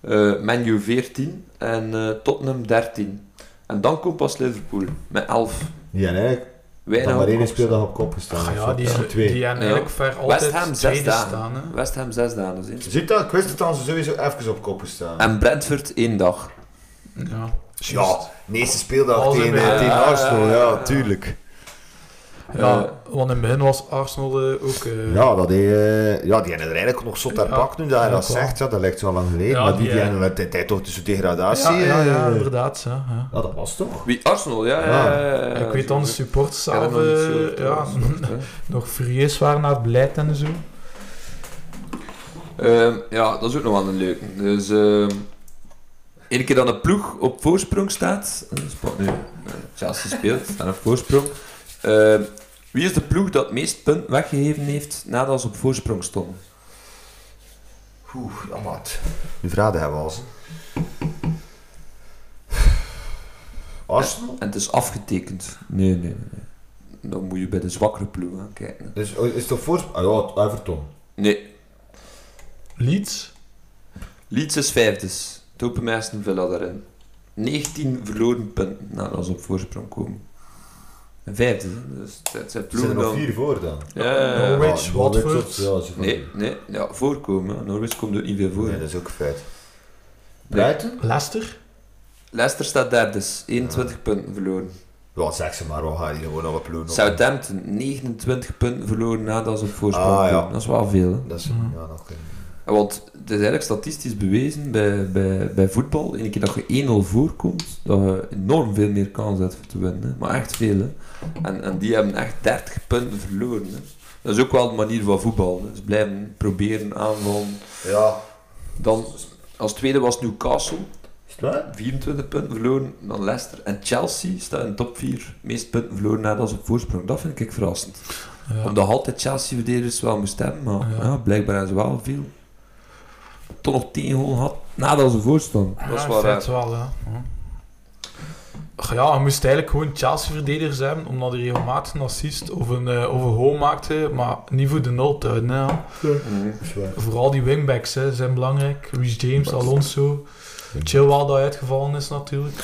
Speaker 1: eh Man U 14. En eh, Tottenham 13. En dan komt pas Liverpool met 11.
Speaker 2: Die en eigenlijk,
Speaker 1: Weinig
Speaker 2: dan maar
Speaker 1: op
Speaker 2: één
Speaker 1: kop staan.
Speaker 2: speeldag op kop gestaan. of
Speaker 3: ja,
Speaker 2: zo.
Speaker 3: die,
Speaker 2: Of
Speaker 3: die,
Speaker 2: twee.
Speaker 3: die hebben eigenlijk ver
Speaker 1: West
Speaker 3: altijd
Speaker 1: Ham 6
Speaker 3: tweede
Speaker 1: dagen.
Speaker 3: staan. Hè.
Speaker 1: West Ham 6 dagen. Dus één.
Speaker 2: Ziet dat? Ik wist het dan ze sowieso even op kop gestaan.
Speaker 1: En Brentford 1 dag.
Speaker 3: Ja.
Speaker 2: Ja, de eerste speeldag
Speaker 3: Als
Speaker 2: tegen,
Speaker 3: een-
Speaker 2: eh, tegen
Speaker 1: Ja,
Speaker 2: Arsenal,
Speaker 1: ja,
Speaker 2: ja,
Speaker 1: ja.
Speaker 2: tuurlijk.
Speaker 3: Ja,
Speaker 1: Eh.
Speaker 3: want in het begin was Arsenal eh, ook... eh,
Speaker 2: Ja, dat die, eh, ja, die hebben er eigenlijk nog zot aan
Speaker 3: Ja,
Speaker 2: pak nu dat hij
Speaker 3: ja,
Speaker 2: dat
Speaker 3: klopt.
Speaker 2: zegt. Ja, dat lijkt zo lang geleden.
Speaker 3: Ja,
Speaker 2: maar die,
Speaker 3: die,
Speaker 2: die
Speaker 3: eh,
Speaker 2: hebben de tijd toch tussen degradatie.
Speaker 3: ja, ja, ja,
Speaker 2: eh.
Speaker 3: inderdaad. Ja, ja.
Speaker 2: Ja, dat was toch?
Speaker 1: Wie? Arsenal, ja. ja, ja, ja, ja.
Speaker 3: Ah, ik weet
Speaker 1: Zo,
Speaker 3: dan, de
Speaker 1: zo.
Speaker 3: supporters
Speaker 1: Ik heb
Speaker 3: zelf
Speaker 1: nog niet zo
Speaker 3: eh, ja,
Speaker 1: gehoord, hè.
Speaker 3: [laughs] nog furieus waren naar het beleid en zo.
Speaker 1: Ehm, ja, dat is ook nog wel een leuke. Dus ehm één keer dat een ploeg op voorsprong staat, eh, spot nu eh, Chelsea speelt, staan op voorsprong. Ehm, wie is de ploeg dat het meest punt weggegeven heeft nadat ze op voorsprong stonden?
Speaker 2: Oeh, ja, maat. Nu vragen hebben we als. Arsenal?
Speaker 1: En het is afgetekend. Nee, nee, nee. nee. Dan moet je bij de zwakkere ploeg aan kijken.
Speaker 2: Dus, oh, is toch voorsprong? Ah ja, Everton.
Speaker 1: Nee,
Speaker 3: Leeds?
Speaker 1: Leeds is vijfdes. Topen Aston Villa daarin. 19 verloren punten nadat ze op voorsprong komen. Een vijfde, hè. dus het zijn
Speaker 2: Er zijn
Speaker 1: ploegen
Speaker 2: er nog
Speaker 1: dan...
Speaker 2: vier voor dan.
Speaker 1: Ja, ja, ja.
Speaker 3: Norwich,
Speaker 2: Ja,
Speaker 3: Watford.
Speaker 2: tot- ja, ze van-
Speaker 1: Nee, nee, ja, voorkomen. hè. Norwich komt er niet veel voor.
Speaker 2: Nee, dat is ook een feit.
Speaker 1: Nee.
Speaker 2: Brighton?
Speaker 3: Leicester?
Speaker 1: Leicester staat daar dus, 21 punten verloren.
Speaker 2: Ja, zeg ze maar, we gaan hier gewoon alle ploegen op.
Speaker 1: Southampton, 29 punten verloren nadat ze op voorsprong
Speaker 2: Ah, ja.
Speaker 1: komen. Dat is wel veel. hè.
Speaker 2: Dat is,
Speaker 3: Hmm.
Speaker 2: ja, nog een-
Speaker 1: En Want het is eigenlijk statistisch bewezen bij, bij, bij voetbal. Eén keer dat je 1-0 voorkomt, dat je enorm veel meer kans hebt voor te winnen. hè. Maar echt veel. Hè. En, en die hebben echt 30 punten verloren. Hè. Dat is ook wel de manier van voetbal. Hè. Dus blijven proberen aanvallen.
Speaker 2: Ja.
Speaker 1: Dan, als tweede was Newcastle.
Speaker 2: Is het waar?
Speaker 1: 24 punten verloren dan Leicester. En Chelsea staat in de top 4. Meest punten verloren nadat ze op voorsprong. Dat vind ik verrassend.
Speaker 3: Ja.
Speaker 1: Omdat altijd Chelsea-verdedigers dus wel moest hebben, maar
Speaker 3: Ja.
Speaker 1: ja. blijkbaar hebben ze wel veel. Toch nog 10 goal had nadat ze voorstonden. Dat is
Speaker 3: ja,
Speaker 1: wel
Speaker 3: in
Speaker 1: raar.
Speaker 3: feite wel, ja. Ja. Ach Ja, je moest eigenlijk gewoon Chelsea-verdedigers hebben, omdat hij regelmatig een assist of een, eh, of een goal maakte, maar niet voor de nul te houden, hè.
Speaker 1: Mhm.
Speaker 2: Is het waar?
Speaker 3: Vooral die wingbacks hè, zijn belangrijk. Rhys James, Alonso. Chilwell dat uitgevallen is natuurlijk.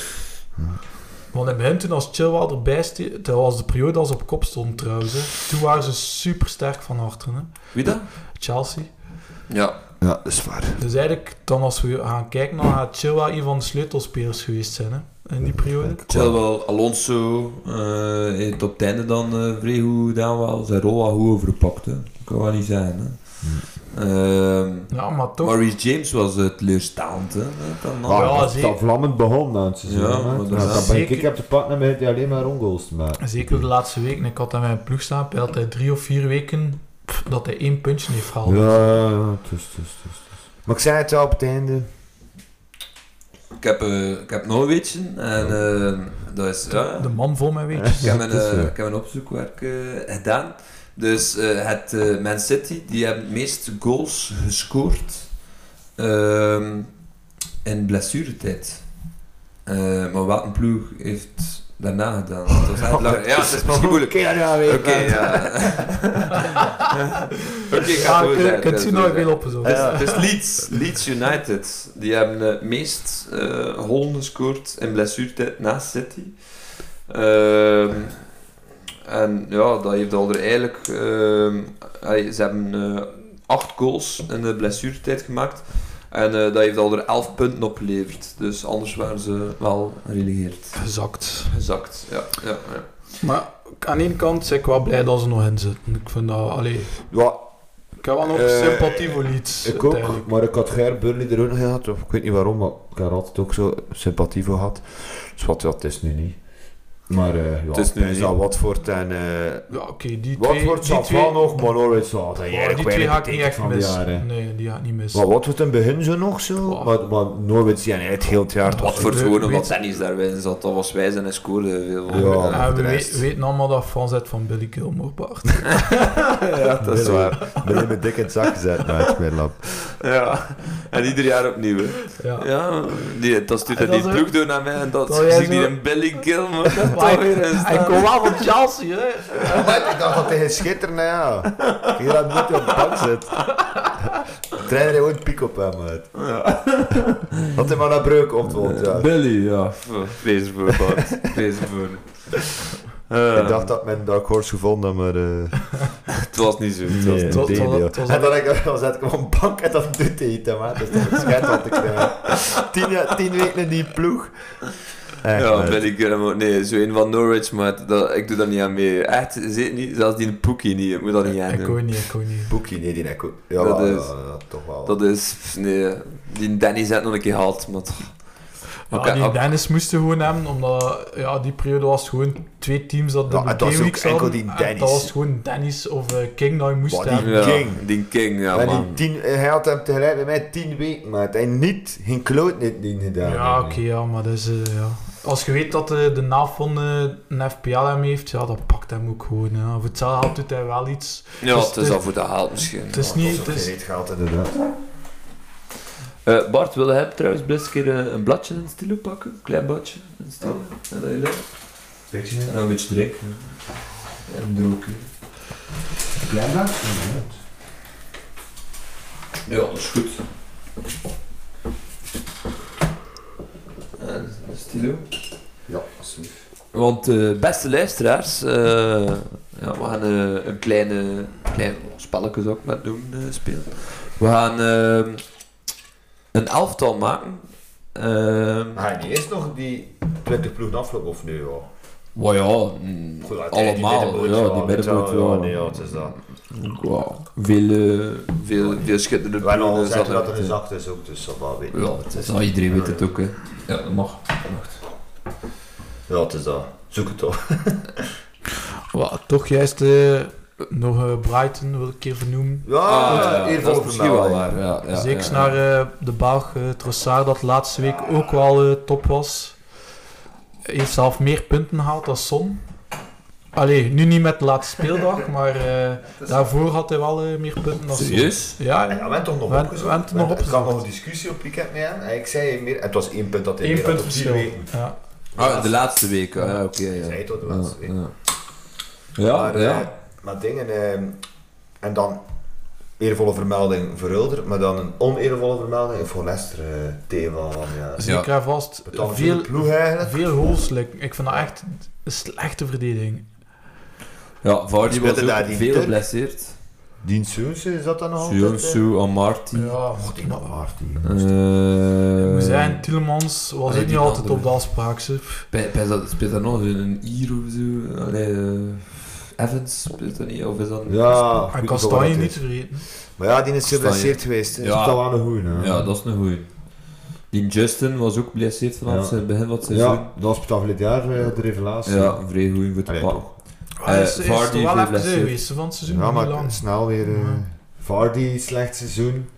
Speaker 3: Want in het begin toen als Chilwell erbij stond, dat was de periode als ze op kop stonden trouwens. Hè. Toen waren ze super sterk van achteren. Hè.
Speaker 1: Wie dat?
Speaker 3: Chelsea.
Speaker 1: Ja.
Speaker 2: Ja, dat is waar.
Speaker 3: Dus eigenlijk, dan als we gaan kijken, dan gaat Chilwell een van de sleutelspelers geweest zijn hè, in die periode.
Speaker 1: Terwijl Alonso eh, heeft op het einde dan eh vrij goed gedaan wel. Zijn rol wel goed overpakt. hè. Dat kan wel niet zijn. Hè. Ehm,
Speaker 3: Ja, maar toch.
Speaker 1: Maurice James was eh, teleurstellend, hè? Dan, dan.
Speaker 2: Ah,
Speaker 3: Ja,
Speaker 2: dat is
Speaker 3: zeker.
Speaker 2: dat vlammend begon aan het seizoen.
Speaker 1: Ja,
Speaker 2: hè.
Speaker 1: maar
Speaker 2: Nou,
Speaker 1: dat is-
Speaker 2: dan ben ik,
Speaker 3: Zeker.
Speaker 2: ik heb de partner met die alleen maar ongoals te maken.
Speaker 3: Zeker de laatste weken. Ik had aan mijn ploeg staan. Hij had hij drie of vier weken pff, dat hij één puntje heeft gehaald.
Speaker 2: Ja, ja, het is, het is, het is.
Speaker 4: Maar ik zei het al op het einde.
Speaker 1: Ik, heb, eh, ik heb nog een weetje. En eh, dat is... ja,
Speaker 3: De man vol mijn weetjes.
Speaker 1: Ik heb
Speaker 2: Ja,
Speaker 1: mijn,
Speaker 2: het is,
Speaker 1: eh,
Speaker 2: ja.
Speaker 1: ik heb mijn opzoekwerk eh, gedaan. Dus eh, het eh, Man City, die hebben het meest goals gescoord ehm, in blessuretijd. Eh, maar wat een ploeg heeft daarna gedaan? Het was echt [laughs] lang.
Speaker 2: [laughs]
Speaker 1: Ja, het is misschien moeilijk.
Speaker 4: Oké, ja,
Speaker 1: Oké,
Speaker 4: weet ik wel.
Speaker 1: [laughs] ja. Oké, ik ga
Speaker 3: Ja,
Speaker 1: door
Speaker 3: Ah, ik-
Speaker 1: zijn,
Speaker 3: ik heb
Speaker 1: ga
Speaker 3: het zien
Speaker 1: door
Speaker 3: nooit
Speaker 1: zijn.
Speaker 3: veel opgezocht.
Speaker 1: Dus, dus Leeds, Leeds United, die hebben het meest eh goals gescoord in blessuretijd na City. Ehm, en ja, dat heeft al er eigenlijk... ehm, hij- ze hebben eh, acht goals in de blessuretijd gemaakt. En eh, dat heeft al er elf punten opgeleverd. Dus anders waren ze wel gerelegeerd.
Speaker 3: Gezakt.
Speaker 1: Gezakt, ja. ja, ja.
Speaker 3: Maar aan de ene kant ben ik wel blij dat ze nog in zitten. Ik vind dat, allee,
Speaker 4: Ja,
Speaker 3: ik heb wel nog
Speaker 4: Eh,
Speaker 3: sympathie voor Leeds.
Speaker 2: Ik
Speaker 3: uiteindelijk.
Speaker 2: ook, maar ik had Ger
Speaker 4: Burnley er ook nog in had, of ik weet niet waarom, maar ik had er altijd ook zo sympathie voor gehad. Dus wat, ja, het is nu niet.
Speaker 2: Maar eh ja,
Speaker 4: Het is nu
Speaker 2: niet.
Speaker 4: niet. Watford en... eh
Speaker 3: Ja, oké, die twee...
Speaker 2: Watford
Speaker 3: die
Speaker 2: zal
Speaker 3: twee,
Speaker 2: wel nog, maar Norwich zal het
Speaker 3: Oh,
Speaker 2: eigenlijk
Speaker 3: die twee
Speaker 2: weinig
Speaker 3: ga ik niet echt
Speaker 2: van die jaren.
Speaker 3: missen. Nee, die ga ik niet missen.
Speaker 4: maar Watford in het begin zo nog zo.
Speaker 3: Wow.
Speaker 2: Maar, maar Norwich, ja,
Speaker 4: Ja, nee, het heel het jaar.
Speaker 1: Wat voor
Speaker 3: Weet-
Speaker 1: gewoon omdat
Speaker 3: weet-
Speaker 1: Dennis daarbij zat. Dat was wijs en hij scoorde veel.
Speaker 2: Ja.
Speaker 1: Eh,
Speaker 3: Ja, we
Speaker 4: de
Speaker 3: we-
Speaker 4: rest.
Speaker 3: weten allemaal dat Frans uit van Billy Gilmore Bart.
Speaker 4: ja, dat is waar. Ben je me dik in het zak gezet, maar het is meer lap. [laughs]
Speaker 1: Ja, en ieder jaar opnieuw. hè.
Speaker 3: Ja.
Speaker 1: Ja, die, dat stuurt
Speaker 3: En
Speaker 1: hij
Speaker 3: Ah, dat
Speaker 1: die
Speaker 3: is ook-
Speaker 1: ploeg door naar mij en dat
Speaker 3: Dat jij
Speaker 1: zie ik
Speaker 3: zo-
Speaker 1: die een Billy Gilmore dat
Speaker 3: [laughs] Maar
Speaker 1: toch weer in
Speaker 3: Hij
Speaker 1: staan.
Speaker 3: komt wel van Chelsea, hè?
Speaker 4: ik dacht dat hij schitterde, nou ja. Ik dat niet op de bank zit. De trainer heeft ooit piek op hem uit.
Speaker 1: Ja.
Speaker 4: Dat hij maar naar Breuk komt volgend jaar.
Speaker 2: Billy, ja.
Speaker 1: Pff, Vrees ervoor, Bart.
Speaker 2: [laughs]
Speaker 1: Vrees ervoor. Ehm,
Speaker 4: Ik dacht dat mijn Dark Horse gevonden had, maar... eh,
Speaker 1: Eh, Het was niet zo. het was-
Speaker 2: Nee.
Speaker 3: Het was- het was-
Speaker 2: Integendeel.
Speaker 3: het was-
Speaker 4: En dan, ik, dan zet ik hem op een bank en dan doet hij het hem, hè. Dus dat is schijt wat ik krijg. Tien, jaar- tien weken in die ploeg. Echt,
Speaker 1: Ja,
Speaker 4: man.
Speaker 1: Billy Gilmore. Nee, zo een van Norwich, maar dat, ik doe dat niet aan mee. Echt, zeker niet. Zelfs die Poekie niet. Ik moet dat niet aan
Speaker 3: Ik
Speaker 1: doen.
Speaker 3: hoor niet, ik hoor niet.
Speaker 4: Boekie, nee, die nek ook. Ja,
Speaker 1: Dat
Speaker 4: wel,
Speaker 1: is-
Speaker 4: ja, ja, toch wel.
Speaker 1: Dat is... pff, Nee, die Dennis had nog een keer gehad, maar... toch.
Speaker 3: Ja,
Speaker 1: Oké,
Speaker 3: Ah, die
Speaker 1: oké.
Speaker 3: Dennis moesten gewoon hebben, omdat ja, die periode was het gewoon twee teams dat de
Speaker 4: Ja, en dat
Speaker 3: game
Speaker 4: is ook
Speaker 3: weeks
Speaker 4: enkel
Speaker 3: hadden.
Speaker 4: die
Speaker 3: En
Speaker 4: Dennis.
Speaker 3: Dat was gewoon Dennis of eh, King dat je moest
Speaker 4: Wat die-
Speaker 3: hebben.
Speaker 1: Ja,
Speaker 4: King.
Speaker 1: Die King, ja,
Speaker 2: Maar
Speaker 4: En die
Speaker 1: man.
Speaker 4: tien, eh, hij had hem tegelijk met mij tien weken, maar hij niet, geen kloot niet niet gedaan.
Speaker 3: Ja, oké, ja, maar dat is... eh, ja. Als je weet dat eh, de naaf van eh, een FPL hem heeft, ja, dat pakt hem ook gewoon. Ja. Voor hetzelfde geld doet hij wel iets.
Speaker 1: Ja,
Speaker 3: dus
Speaker 1: het is
Speaker 3: de-
Speaker 1: al voor de haalt misschien.
Speaker 3: Het is
Speaker 4: Oh,
Speaker 3: niet... Het is,
Speaker 4: niet gehad
Speaker 2: Inderdaad.
Speaker 1: Eh, Bart, wil jij trouwens best een keer eh, een bladje in het stilo pakken? Een klein bladje in het stilo. Ja, dat je leuk. En dan een beetje drinken. En een droogje. Ja, dat is goed. En een stilo.
Speaker 2: Ja, alsjeblieft.
Speaker 1: Want eh, beste luisteraars, eh, ja, we gaan eh, een kleine, klein spelletje zou ik maar doen eh, spelen. We gaan eh, een elftal maken. Ehm
Speaker 2: Ah, die is nog die 20 ploegen afloop of nu al?
Speaker 1: maar ja, mm, allemaal. ja, die middenboot. Ja,
Speaker 2: Nee, ja, het is dat.
Speaker 1: Wow. Veel, eh, veel, veel schitterende
Speaker 2: We hebben al
Speaker 1: ploegen
Speaker 2: gezegd
Speaker 1: zaten
Speaker 2: dat er
Speaker 1: erin.
Speaker 2: een zacht is ook, dus dat wel weet ik.
Speaker 1: Ja, het is, ah, iedereen weet het ook. Hè. Ja, dat mag. Dat mag.
Speaker 2: Ja, het is dat. Zoek het op.
Speaker 3: Wel, toch juist eh, nog eh, Brighton wil ik een keer vernoemen.
Speaker 1: Ah, ja,
Speaker 2: Ja,
Speaker 1: dat is
Speaker 2: eervol
Speaker 1: misschien wel
Speaker 2: vermelding.
Speaker 1: waar. Ja, ja,
Speaker 3: Zeker
Speaker 1: ja.
Speaker 3: naar eh, de Belg eh Trossard, dat laatste week ook wel eh, top was. Hij heeft zelf meer punten gehaald dan Son. Allee, nu niet met de laatste
Speaker 2: [laughs]
Speaker 3: speeldag, maar eh, daarvoor had hij wel eh, meer punten dan Son.
Speaker 1: Serieus?
Speaker 3: Ja,
Speaker 2: En
Speaker 3: ja.
Speaker 2: ja, we hebben toch nog
Speaker 3: We- we
Speaker 2: opgezocht.
Speaker 3: hebben het nog
Speaker 2: We- Ik had
Speaker 3: opgezocht.
Speaker 2: nog een discussie op weekend mee aan. En ik zei meer, het was één punt dat hij
Speaker 3: Eén
Speaker 2: meer had
Speaker 3: punt
Speaker 2: op vier
Speaker 3: verschil.
Speaker 2: weken.
Speaker 3: Ja.
Speaker 1: Ah, de laatste week. ah, ja, oké.
Speaker 2: Ik zei
Speaker 1: ja.
Speaker 2: het al, de
Speaker 1: Ja,
Speaker 2: laatste week.
Speaker 1: ja. Ja,
Speaker 2: maar,
Speaker 1: ja.
Speaker 2: eh, maar dingen... ehm, en dan eervolle vermelding voor Hulder, maar dan een oneervolle vermelding voor Leicester. eh, thema van,
Speaker 1: Dus
Speaker 2: ja.
Speaker 3: Zeker en dus vast.
Speaker 2: Betaal voor
Speaker 3: Veel,
Speaker 2: de ploeg eigenlijk.
Speaker 3: veel goals. like, Ik vind dat echt een slechte verdediging.
Speaker 1: Ja, Vardy
Speaker 2: Die
Speaker 1: was
Speaker 2: speelde
Speaker 1: ook
Speaker 2: daar die
Speaker 1: veel
Speaker 2: Turk.
Speaker 1: geblesseerd.
Speaker 2: Dean Soense, is dat dan nog altijd? eh?
Speaker 1: Sionsu, Amarty.
Speaker 3: Ja,
Speaker 2: Oh, die man hard, die.
Speaker 1: Eh,
Speaker 3: Hoe zijn, Tielemans was
Speaker 1: allee,
Speaker 3: ook
Speaker 1: die
Speaker 3: niet altijd
Speaker 1: andere.
Speaker 3: op de afspraak. ze.
Speaker 1: Bij- bij dat- Speelt daar nog een Ier of zo? Allee, eh, Evans speelt dat niet, of is dat...
Speaker 2: Ja,
Speaker 3: En
Speaker 2: ik weet wel wat
Speaker 3: Kastanje
Speaker 2: het
Speaker 3: niet
Speaker 2: is.
Speaker 3: te vergeten.
Speaker 4: Maar ja, die is
Speaker 1: Kastanje.
Speaker 4: geblesseerd geweest. hè.
Speaker 2: Dat is
Speaker 1: Ja.
Speaker 2: toch wel een goeie, hè?
Speaker 1: Ja, dat is een goeie. Die Justin was ook geblesseerd vanaf
Speaker 2: Ja.
Speaker 1: het begin van het seizoen.
Speaker 2: Ja, dat was betaald dit jaar eh, de revelatie.
Speaker 1: Ja, een vrij goeie voor te
Speaker 2: Allee,
Speaker 1: pakken.
Speaker 3: Hij is, is
Speaker 1: Eh, Vardy
Speaker 3: toch wel even
Speaker 1: geblesseerd.
Speaker 3: geweest van het seizoen,
Speaker 2: Ja,
Speaker 3: niet
Speaker 2: maar
Speaker 3: lang.
Speaker 2: snel weer... eh,
Speaker 3: Ja.
Speaker 2: Vardy, slecht seizoen.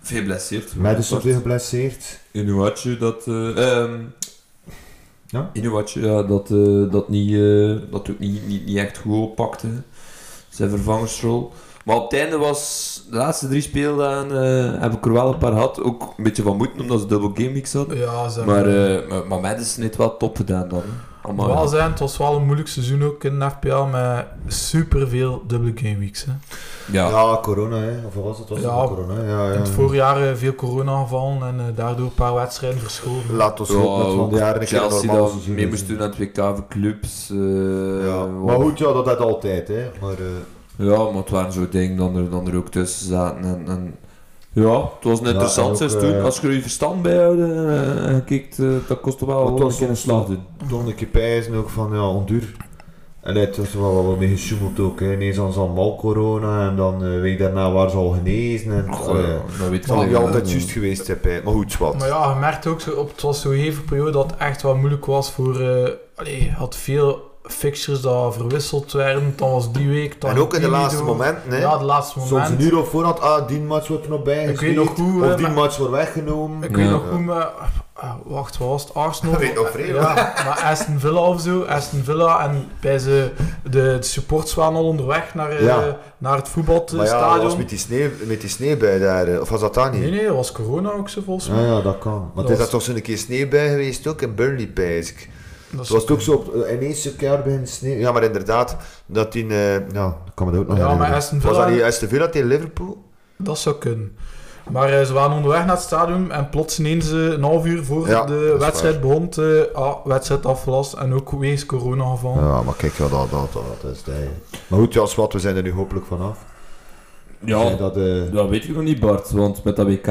Speaker 1: Veel geblesseerd.
Speaker 2: Madison weer geblesseerd.
Speaker 1: Inuatje dat... eh ehm
Speaker 2: Ja?
Speaker 1: Inuatje, ja, dat, eh, dat, niet, eh, dat ook niet, niet, niet echt goed oppakte. Zijn vervangersrol. Maar op het einde was... De laatste drie speeldagen eh, heb ik er wel een paar gehad. Ook een beetje van moeten, omdat ze dubbel game week hadden.
Speaker 3: Ja, ze
Speaker 1: Maar,
Speaker 3: hebben-
Speaker 1: eh maar, maar Madison heeft wel top gedaan dan. hè. Allemaal,
Speaker 3: wel zijn, het was wel een moeilijk seizoen ook in de FPL met superveel dubbele gameweeks. Hè.
Speaker 1: ja.
Speaker 2: Ja, corona, hè. Of wat was het? Was het
Speaker 3: Ja.
Speaker 2: corona? Ja, ja.
Speaker 3: In het voorjaar eh, veel corona gevallen en eh, daardoor een paar wedstrijden verschoven.
Speaker 4: Laat ons
Speaker 1: Ja,
Speaker 4: hopen dat we van
Speaker 1: ook
Speaker 4: de jaren een keer een
Speaker 1: Chelsea
Speaker 2: normaal
Speaker 1: dat
Speaker 2: seizoen
Speaker 1: mee
Speaker 2: is,
Speaker 1: moest
Speaker 2: hè.
Speaker 1: doen aan het WK voor clubs. eh,
Speaker 2: Ja.
Speaker 1: wat-
Speaker 2: Maar goed, ja, dat had altijd, hè. Maar... eh,
Speaker 1: Ja, maar het waren zo dingen dat er, dat er ook tussen zaten. En, en, ja, het was een
Speaker 2: Ja, en
Speaker 1: interessant
Speaker 2: ook,
Speaker 1: seizoen.
Speaker 2: eh,
Speaker 1: Als je je verstand bijhouden eh, en je kijkt, eh, dat kost wel
Speaker 2: het
Speaker 1: wel
Speaker 2: was
Speaker 1: een keer een
Speaker 2: soms
Speaker 1: slag doen.
Speaker 2: Toch een keer pijzen ook van ja, onduur. En het was er wel wel mee gesjoemeld ook. Hè. Ineens was allemaal corona en dan eh week daarna waren ze al genezen. En,
Speaker 1: Goh,
Speaker 2: eh,
Speaker 1: ja, dat weet
Speaker 4: Het zal
Speaker 1: ik
Speaker 4: niet
Speaker 1: wel.
Speaker 4: altijd juist geweest zijn, Pij. maar goed, wat.
Speaker 3: Maar ja, je merkte ook, zo op, het was zo'n even periode dat het echt wel moeilijk was voor... eh allee, je had veel fixtures dat verwisseld werden, dan was die week... Dan
Speaker 4: en ook in de
Speaker 3: die
Speaker 4: laatste
Speaker 3: week door.
Speaker 4: momenten, hè.
Speaker 3: Ja, de laatste
Speaker 2: soms
Speaker 3: moment.
Speaker 2: een uur op voorhand, ah, die match wordt er nog bij
Speaker 3: Ik weet nog
Speaker 2: gesleept,
Speaker 3: hoe,
Speaker 2: Of
Speaker 3: eh,
Speaker 2: die
Speaker 3: maar-
Speaker 2: match wordt weggenomen.
Speaker 3: Ik weet
Speaker 1: Ja.
Speaker 3: nog hoe me... eh, wacht, wat was het?
Speaker 4: [laughs]
Speaker 3: Arsenal?
Speaker 4: Dat weet nog vrij,
Speaker 3: Ja, maar Aston Villa of zo. Aston Villa en bij ze... De, de supports waren al onderweg naar, eh,
Speaker 2: Ja.
Speaker 3: naar het voetbalstadion.
Speaker 4: Maar ja, dat was met die, sneeuw, met die sneeuwbui daar, eh. of was dat daar niet?
Speaker 3: Nee, nee, dat was corona ook zo volgens mij.
Speaker 2: Ja, ja, dat kan. Maar
Speaker 3: Dat
Speaker 2: het
Speaker 4: Is
Speaker 2: is,
Speaker 4: dat toch zo'n keer sneeuwbui geweest ook in Burnley, pijs ik?
Speaker 3: Dat is-
Speaker 2: het was het ook zo, op, eh, ineens een keer bij een sneeuw.
Speaker 4: Ja, maar inderdaad, dat die... eh,
Speaker 2: Ja, dat kan me dat ook nog
Speaker 3: Ja, maar
Speaker 2: herinneren.
Speaker 3: Aston
Speaker 4: was dat
Speaker 3: Villa...
Speaker 2: eh,
Speaker 4: niet Aston Villa tegen Liverpool?
Speaker 3: Dat zou kunnen. Maar eh, ze waren onderweg naar het stadion en plots ineens eh, een half uur voor
Speaker 4: Ja, dat
Speaker 3: de
Speaker 4: is
Speaker 3: wedstrijd begon, eh, ah, wedstrijd afgelast en ook wegens corona gevallen.
Speaker 4: Ja, maar kijk, ja,
Speaker 2: Dat, dat, dat, dat is het, hè. Maar goed, Jas, wat, we zijn er nu hopelijk vanaf.
Speaker 1: Ja,
Speaker 2: Zijn dat, eh,
Speaker 1: dat weet ik nog niet, Bart. Want met dat WK,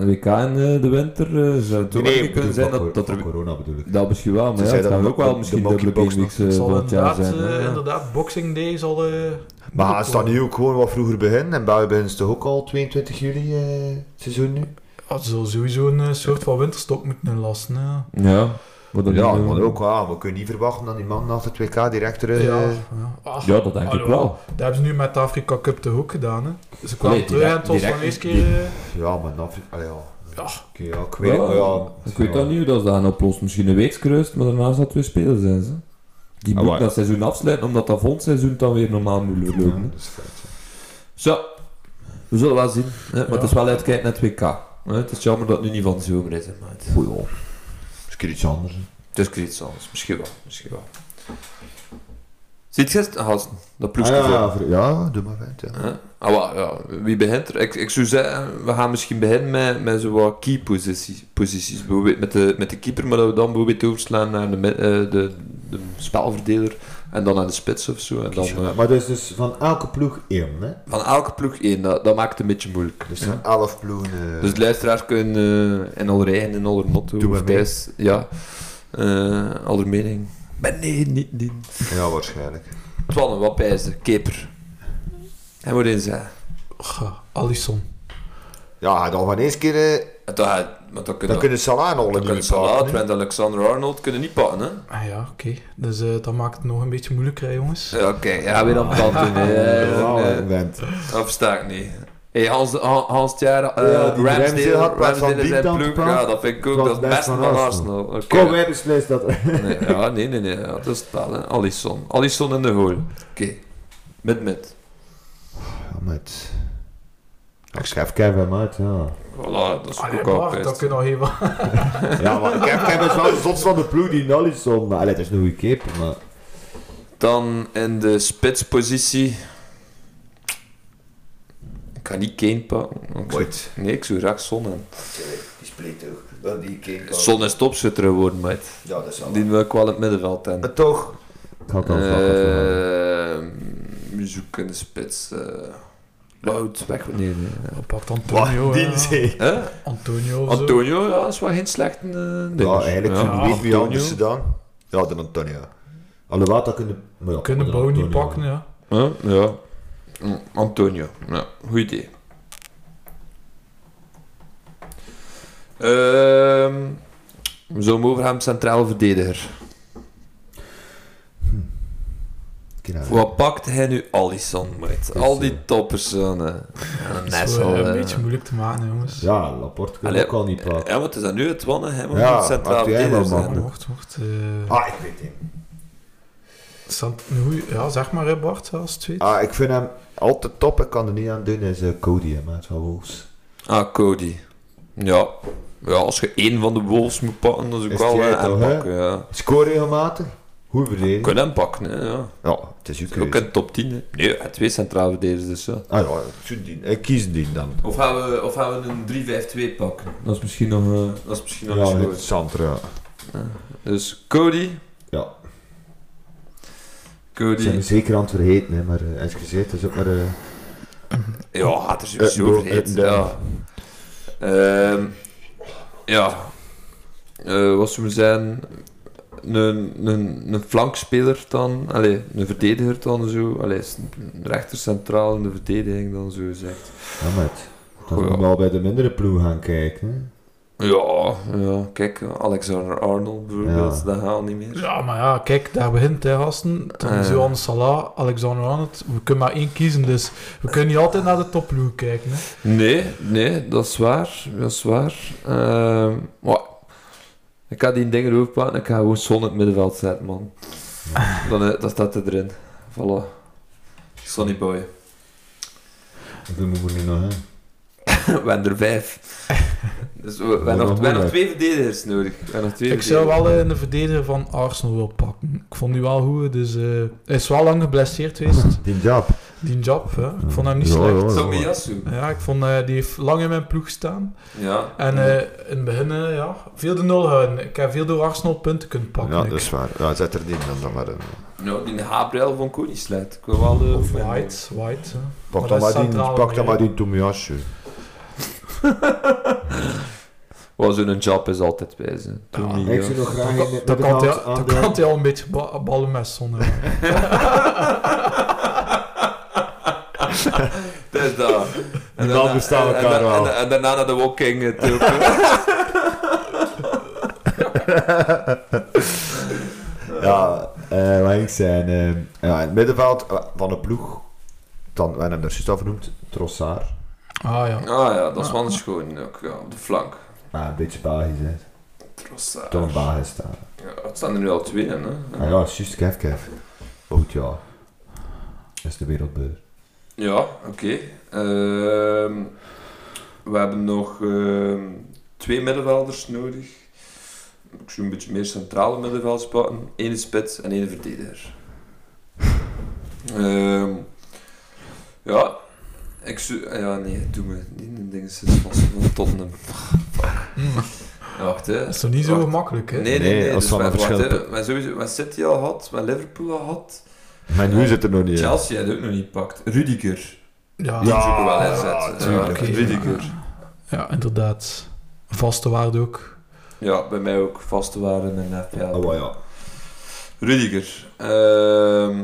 Speaker 1: WK in eh, de winter eh, zou het ook
Speaker 4: Nee,
Speaker 1: wel
Speaker 4: ik
Speaker 1: kunnen zijn
Speaker 2: van
Speaker 1: dat,
Speaker 2: cor-
Speaker 1: dat
Speaker 2: van
Speaker 1: er...
Speaker 2: corona bedoel ik.
Speaker 1: Dat misschien wel, maar
Speaker 4: Ze
Speaker 1: ja,
Speaker 4: zei
Speaker 1: het
Speaker 4: dat
Speaker 1: gaan
Speaker 4: de-
Speaker 1: ook wel
Speaker 4: de
Speaker 1: misschien
Speaker 4: monkey
Speaker 1: dubbele
Speaker 4: box
Speaker 1: game
Speaker 4: nog.
Speaker 1: weeks eh,
Speaker 3: zal
Speaker 1: van het jaar
Speaker 3: inderdaad,
Speaker 1: zijn.
Speaker 3: eh,
Speaker 1: hè. Ja.
Speaker 3: inderdaad, Boxing Day zal...
Speaker 4: Maar
Speaker 3: eh moeilijk
Speaker 4: het staat
Speaker 3: worden.
Speaker 4: nu ook gewoon wat vroeger beginnen. En bij beginnen ze toch ook al 22 juli eh, het seizoen nu?
Speaker 3: Ja, ah, ze zullen sowieso een eh, soort van winterstok moeten inlassen. hè.
Speaker 1: Ja, maar dat
Speaker 4: Ja,
Speaker 1: eh,
Speaker 4: maar ook, ah, we kunnen niet verwachten dat die man na het WK direct terug...
Speaker 3: Ja,
Speaker 4: eh,
Speaker 3: ja. Ah,
Speaker 1: Ja, dat denk ik
Speaker 3: hallo.
Speaker 1: wel.
Speaker 3: Dat hebben ze nu met de Afrika Cup te hoek gedaan. Hè. Ze kwamen
Speaker 1: Nee,
Speaker 3: terug en het was
Speaker 1: direct-
Speaker 3: van eerste keer...
Speaker 1: direct-
Speaker 3: eh,
Speaker 2: Ja, maar dat... Allee, ja.
Speaker 3: Ja.
Speaker 2: Oké, ja, ik weet het, maar ja,
Speaker 1: Ik weet dat niet hoe dat ze dat gaan oplossen. Misschien een week rust, maar daarna zal het weer spelen zijn ze. Die
Speaker 2: Ah,
Speaker 1: moeten
Speaker 2: maar-
Speaker 1: dat seizoen afsluiten, omdat dat volgend seizoen dan weer normaal moet
Speaker 2: Ja,
Speaker 1: lopen. hè.
Speaker 2: dat is vet.
Speaker 1: Zo, we zullen wel zien. Hè? Maar
Speaker 3: Ja.
Speaker 1: het is wel uitkijken naar het WK. Hè? Het is jammer dat het nu niet van de zomer is. hè, Maar het,
Speaker 2: Goeie hoor. Misschien iets anders. hè.
Speaker 1: het is ook iets anders. Misschien wel. Misschien wel. Ziet gisteren, gasten, dat ploegje
Speaker 2: Ah,
Speaker 1: voor.
Speaker 2: ja, voor- ja, doe maar uit. Ja.
Speaker 1: Hè? Ah, wel, ja. Wie begint er? Ik, ik zou zeggen, we gaan misschien beginnen met, met zo wat key posities. posities. Bijvoorbeeld met de, met de keeper, maar dat we dan bijvoorbeeld overslaan naar de, mid- eh, de, de spelverdeler en dan naar de spits of zo. En dan, eh,
Speaker 2: maar dat is dus van elke ploeg één, hè?
Speaker 1: van elke ploeg één, dat, dat maakt het een beetje moeilijk.
Speaker 4: Dus er zijn 11 ploegen. eh,
Speaker 1: Dus de luisteraars kunnen eh, in aller eigen, in aller motto,
Speaker 4: Doe
Speaker 1: of
Speaker 4: maar mee.
Speaker 1: thuis, ja, eh aller mening. Maar nee, niet die.
Speaker 4: Ja, waarschijnlijk.
Speaker 1: Twanne, wat pijzen? Keeper. Hij moet in zijn.
Speaker 3: goh, Alisson.
Speaker 4: Ja, dan van eens keer... eh,
Speaker 1: En dan, hij- want dan kunnen
Speaker 4: dan
Speaker 1: we-
Speaker 4: kunnen Salah en Holland
Speaker 1: Dan
Speaker 4: niet
Speaker 1: kunnen
Speaker 4: meer
Speaker 1: Salah,
Speaker 4: pakken, hè.
Speaker 1: Trent Alexander-Arnold kunnen niet pakken, hè?
Speaker 3: Ah, ja, oké. Dus eh, dat maakt het nog een beetje moeilijker, hè, jongens.
Speaker 1: Ja, Oké, ja, weer aan het kanten.
Speaker 2: [laughs] Ja,
Speaker 1: eh, eh,
Speaker 2: bent.
Speaker 1: Dat versta ik niet. Hey, Hans, Han- Hans Tjaar, eh,
Speaker 2: Ja, die Ramsdale
Speaker 1: Ramsdale,
Speaker 2: had plaats van
Speaker 1: Ramsdale is
Speaker 2: Diep
Speaker 1: zijn
Speaker 2: dan te
Speaker 1: ploeg.
Speaker 2: pakken.
Speaker 1: Ja, dat vind ik ook.
Speaker 2: Het
Speaker 1: Dat
Speaker 2: was
Speaker 1: is het beste van Arsenal. Oké.
Speaker 2: Kom, wij beslissen dat.
Speaker 1: Nee, ja, nee, nee, nee. Dat is het wel, hè. Alisson. Alisson in de goal. Oké. Met, met.
Speaker 2: Ja, met...
Speaker 4: Ik
Speaker 2: Ik schrijf Kevin hem uit, ja.
Speaker 1: Voilà, dat is
Speaker 3: Allee,
Speaker 1: ook al
Speaker 3: Bart, dat
Speaker 1: best.
Speaker 3: kunnen we nog even...
Speaker 2: Ja, maar Kev, Kev is wel de zotste van de ploeg die Nolly's om. Maar allee, dat is een goede keeper, maar...
Speaker 1: Dan in de spitspositie... Ik kan niet Kane pakken. Ik zou-
Speaker 4: Ooit.
Speaker 1: Nee, ik zou graag Son hebben.
Speaker 4: Die split ook. Dat die keer.
Speaker 1: Son is topschutter geworden, mate.
Speaker 4: Ja, dat is wel.
Speaker 1: Die wil ik wel in het middenveld
Speaker 2: Oh,
Speaker 1: hebben.
Speaker 4: Maar toch.
Speaker 2: Ik had al uh,
Speaker 1: Eh, we zoeken de spits. eh Wout, weg. Nee, nee.
Speaker 3: Pak Antonio,
Speaker 4: Wat, die
Speaker 3: hè.
Speaker 4: zee.
Speaker 1: Hè?
Speaker 3: Antonio of zo.
Speaker 1: Antonio, ja, is wel geen slechte eh
Speaker 2: Ja,
Speaker 1: ding.
Speaker 2: eigenlijk
Speaker 1: ja.
Speaker 2: zo'n
Speaker 4: Wie wie
Speaker 1: Antonio.
Speaker 4: anders dan? Ja, dan Antonio.
Speaker 2: Alhoewel, dat kunnen... Maar ja,
Speaker 3: We kunnen
Speaker 2: dat
Speaker 3: Boni
Speaker 2: Antonio.
Speaker 3: pakken, ja.
Speaker 1: Huh? Ja. Mm, Antonio. Ja, goed idee. Ehm Zo'n overham centraal verdediger.
Speaker 2: Kinaar.
Speaker 1: Wat pakt hij nu Alisson met? Al die toppers. eh, En een
Speaker 3: Dat is
Speaker 1: Nessel.
Speaker 3: wel een
Speaker 1: eh.
Speaker 3: beetje moeilijk te maken, jongens.
Speaker 2: Ja, Laporte kan
Speaker 1: Allee,
Speaker 2: ook al niet pakken.
Speaker 1: Ja, want het is dan nu het wannen. Hij moet
Speaker 2: Ja,
Speaker 1: nu centraal
Speaker 2: had jij
Speaker 1: verdediger
Speaker 2: wel,
Speaker 1: zijn.
Speaker 2: man.
Speaker 3: Mocht, mocht. eh,
Speaker 2: Ah, ik weet het.
Speaker 3: Sant- een goeie- ja, zeg maar, hè, Bart, als het weet.
Speaker 2: Ah, ik vind hem altijd top. Ik kan er niet aan doen. Is eh, Cody, hè, maat van Wolves.
Speaker 1: Ah, Cody. Ja. ja, als je één van de Wolves moet pakken, dan zou ik
Speaker 2: Is
Speaker 1: wel
Speaker 2: die
Speaker 1: eh,
Speaker 2: het
Speaker 1: hem
Speaker 2: toch, hè?
Speaker 1: pakken. Ja.
Speaker 2: Score regelmatig. Goed
Speaker 1: Je
Speaker 2: verdedigen.
Speaker 1: kunt hem pakken, hè, ja.
Speaker 2: Ja, het is uw
Speaker 1: Het is ook
Speaker 2: keuze.
Speaker 1: in de top 10. Hè. Nee, hij had twee centraal verdedigers, dus ja.
Speaker 2: Ah ja, ik zou die- ik kies die dan.
Speaker 1: Of gaan we, of gaan we een 3-5-2 pakken? Dat is misschien nog, eh, dat is misschien nog
Speaker 2: Ja,
Speaker 1: iets moois.
Speaker 2: interessant, ja.
Speaker 1: Dus Cody.
Speaker 2: Ja. Ze zijn
Speaker 1: Cody.
Speaker 2: hem zeker aan het vergeten, hè, maar eh, als je zegt, is ook maar... eh,
Speaker 1: Ja, had er sowieso
Speaker 2: Eh, door-
Speaker 1: overheid.
Speaker 2: eh, door.
Speaker 1: Ja. Ehm, ja. Eh, wat zou we zijn? Een, een, een flankspeler dan, allee, een verdediger dan zo, allee, s- rechter centraal in de verdediging dan zo zegt.
Speaker 2: ja, maat. Dan
Speaker 1: Goh, ja.
Speaker 2: moet je wel bij de mindere ploeg gaan kijken, hè.
Speaker 1: Ja, ja, kijk, Alexander Arnold bijvoorbeeld,
Speaker 2: Ja.
Speaker 1: dat haal niet meer.
Speaker 3: Ja, maar ja, kijk, daar begint hij, gasten. Dan is
Speaker 1: Eh.
Speaker 3: Johan Salah, Alexander Arnold. We kunnen maar één kiezen, dus we kunnen niet altijd naar de topploeg kijken. Hè.
Speaker 1: Nee, nee, dat is waar. Dat is waar. Ehm, maar ik ga die dingen overpakken en ik ga gewoon Son in het middenveld zetten, man. Dan, eh, dat staat hij erin. Voilà. Sonny [laughs] Boy.
Speaker 2: Hoeveel moeten we nu nog, hè?
Speaker 1: we hebben er vijf. Dus we, we hebben
Speaker 2: Wordt
Speaker 1: nog,
Speaker 2: nog
Speaker 1: we hebben nog
Speaker 2: moeilijk.
Speaker 1: twee verdedigers nodig. We hebben nog twee
Speaker 3: Ik zou wel
Speaker 1: verdedigers.
Speaker 3: eh, een verdediger van Arsenal willen pakken. Ik vond die wel goed, dus eh, hij is wel lang geblesseerd geweest.
Speaker 2: [laughs] Die job.
Speaker 3: Die job, hè. ik vond hem niet
Speaker 2: Ja,
Speaker 3: slecht.
Speaker 2: ja.
Speaker 1: Tomiyasu.
Speaker 3: Ja, ik vond eh, die heeft lang in mijn ploeg staan.
Speaker 1: Ja.
Speaker 3: En eh, in het begin, eh, ja, veel de nul houden. Ik heb veel door Arsenal punten kunnen pakken.
Speaker 2: Ja, dus-
Speaker 3: ik.
Speaker 2: dat is waar. Ja, zet er die dan, dan maar eh, in.
Speaker 1: Nou, die Gabriel vond ik ook niet slecht. Ik wil wel... eh,
Speaker 3: Of
Speaker 1: mijn-
Speaker 3: White, White. hè.
Speaker 2: Pak
Speaker 3: Maar
Speaker 2: dan
Speaker 3: dat is
Speaker 2: maar die,
Speaker 3: centraal
Speaker 2: pak dan
Speaker 3: meer.
Speaker 2: maar die Tomiyasu.
Speaker 1: Wel, zo'n job is altijd wijzen.
Speaker 2: Ah, Ik zie nog graag in het
Speaker 3: Dan kan
Speaker 2: middenveld
Speaker 3: hij-
Speaker 2: aan
Speaker 3: dan kan
Speaker 2: de...
Speaker 3: hij al een beetje ba- ballen met zonder.
Speaker 1: [laughs] Dat is Dus dat.
Speaker 2: En dan
Speaker 1: daarna-
Speaker 2: bestaan we
Speaker 1: en-
Speaker 2: elkaar
Speaker 1: en-
Speaker 2: wel.
Speaker 1: en- En daarna naar de walking eh, toe.
Speaker 2: [laughs] Ja, eh, wat ik zei, eh, ja, in het middenveld eh, van de ploeg, dan, we hebben hem er juist al vernoemd, Trossard.
Speaker 3: Ah ja.
Speaker 1: Ah ja, dat is wel een schoon ook, ja, op de flank.
Speaker 2: Ah, een beetje Belgisch, hè.
Speaker 1: Trossard.
Speaker 2: Toch een Belgisch staan.
Speaker 1: Ja, het staan er nu al twee in, hè.
Speaker 2: Ah ja, juist, Kev, Kev. Bout, ja. Dat is de wereldbeur.
Speaker 1: Ja, oké. Ehm, we hebben nog ehm, twee middenvelders nodig. Ik zou een beetje meer centrale middenvelders pakken. Eén spits en één verdediger. Ehm, ja, ik zou... ah Ja, nee, doe me. Die die ding is dus van van Tottenham. Ja, Wacht, hè.
Speaker 3: [laughs] Dat is toch niet zo
Speaker 1: Wacht.
Speaker 3: gemakkelijk, hè?
Speaker 1: Nee, nee, nee.
Speaker 2: Nee, als
Speaker 1: dus
Speaker 2: van
Speaker 1: we-
Speaker 2: een
Speaker 1: wacht,
Speaker 2: verschil-
Speaker 1: hè. We hebben sowieso... We City al had, we Liverpool al had.
Speaker 2: Maar nu zit er nog niet in.
Speaker 1: Chelsea had ook nog niet pakt. Rudiger.
Speaker 3: Ja,
Speaker 1: Die
Speaker 3: ja.
Speaker 2: Ja.
Speaker 1: zoeken we wel
Speaker 2: Ah. ja,
Speaker 1: inzetten. Ja,
Speaker 2: tuurlijk.
Speaker 1: oké. Rudiger.
Speaker 3: inderdaad. Vaste waarde ook.
Speaker 1: Ja, bij mij ook vaste waren en FPL.
Speaker 2: Oh, wel, ja.
Speaker 1: Rudiger. Ehm,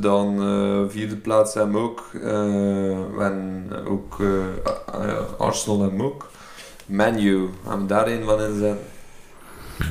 Speaker 1: dan eh, vierde plaats hem ook. Eh, en ook eh, ah, ja, Arsenal hem ook. Menu, hem daar een van inzetten.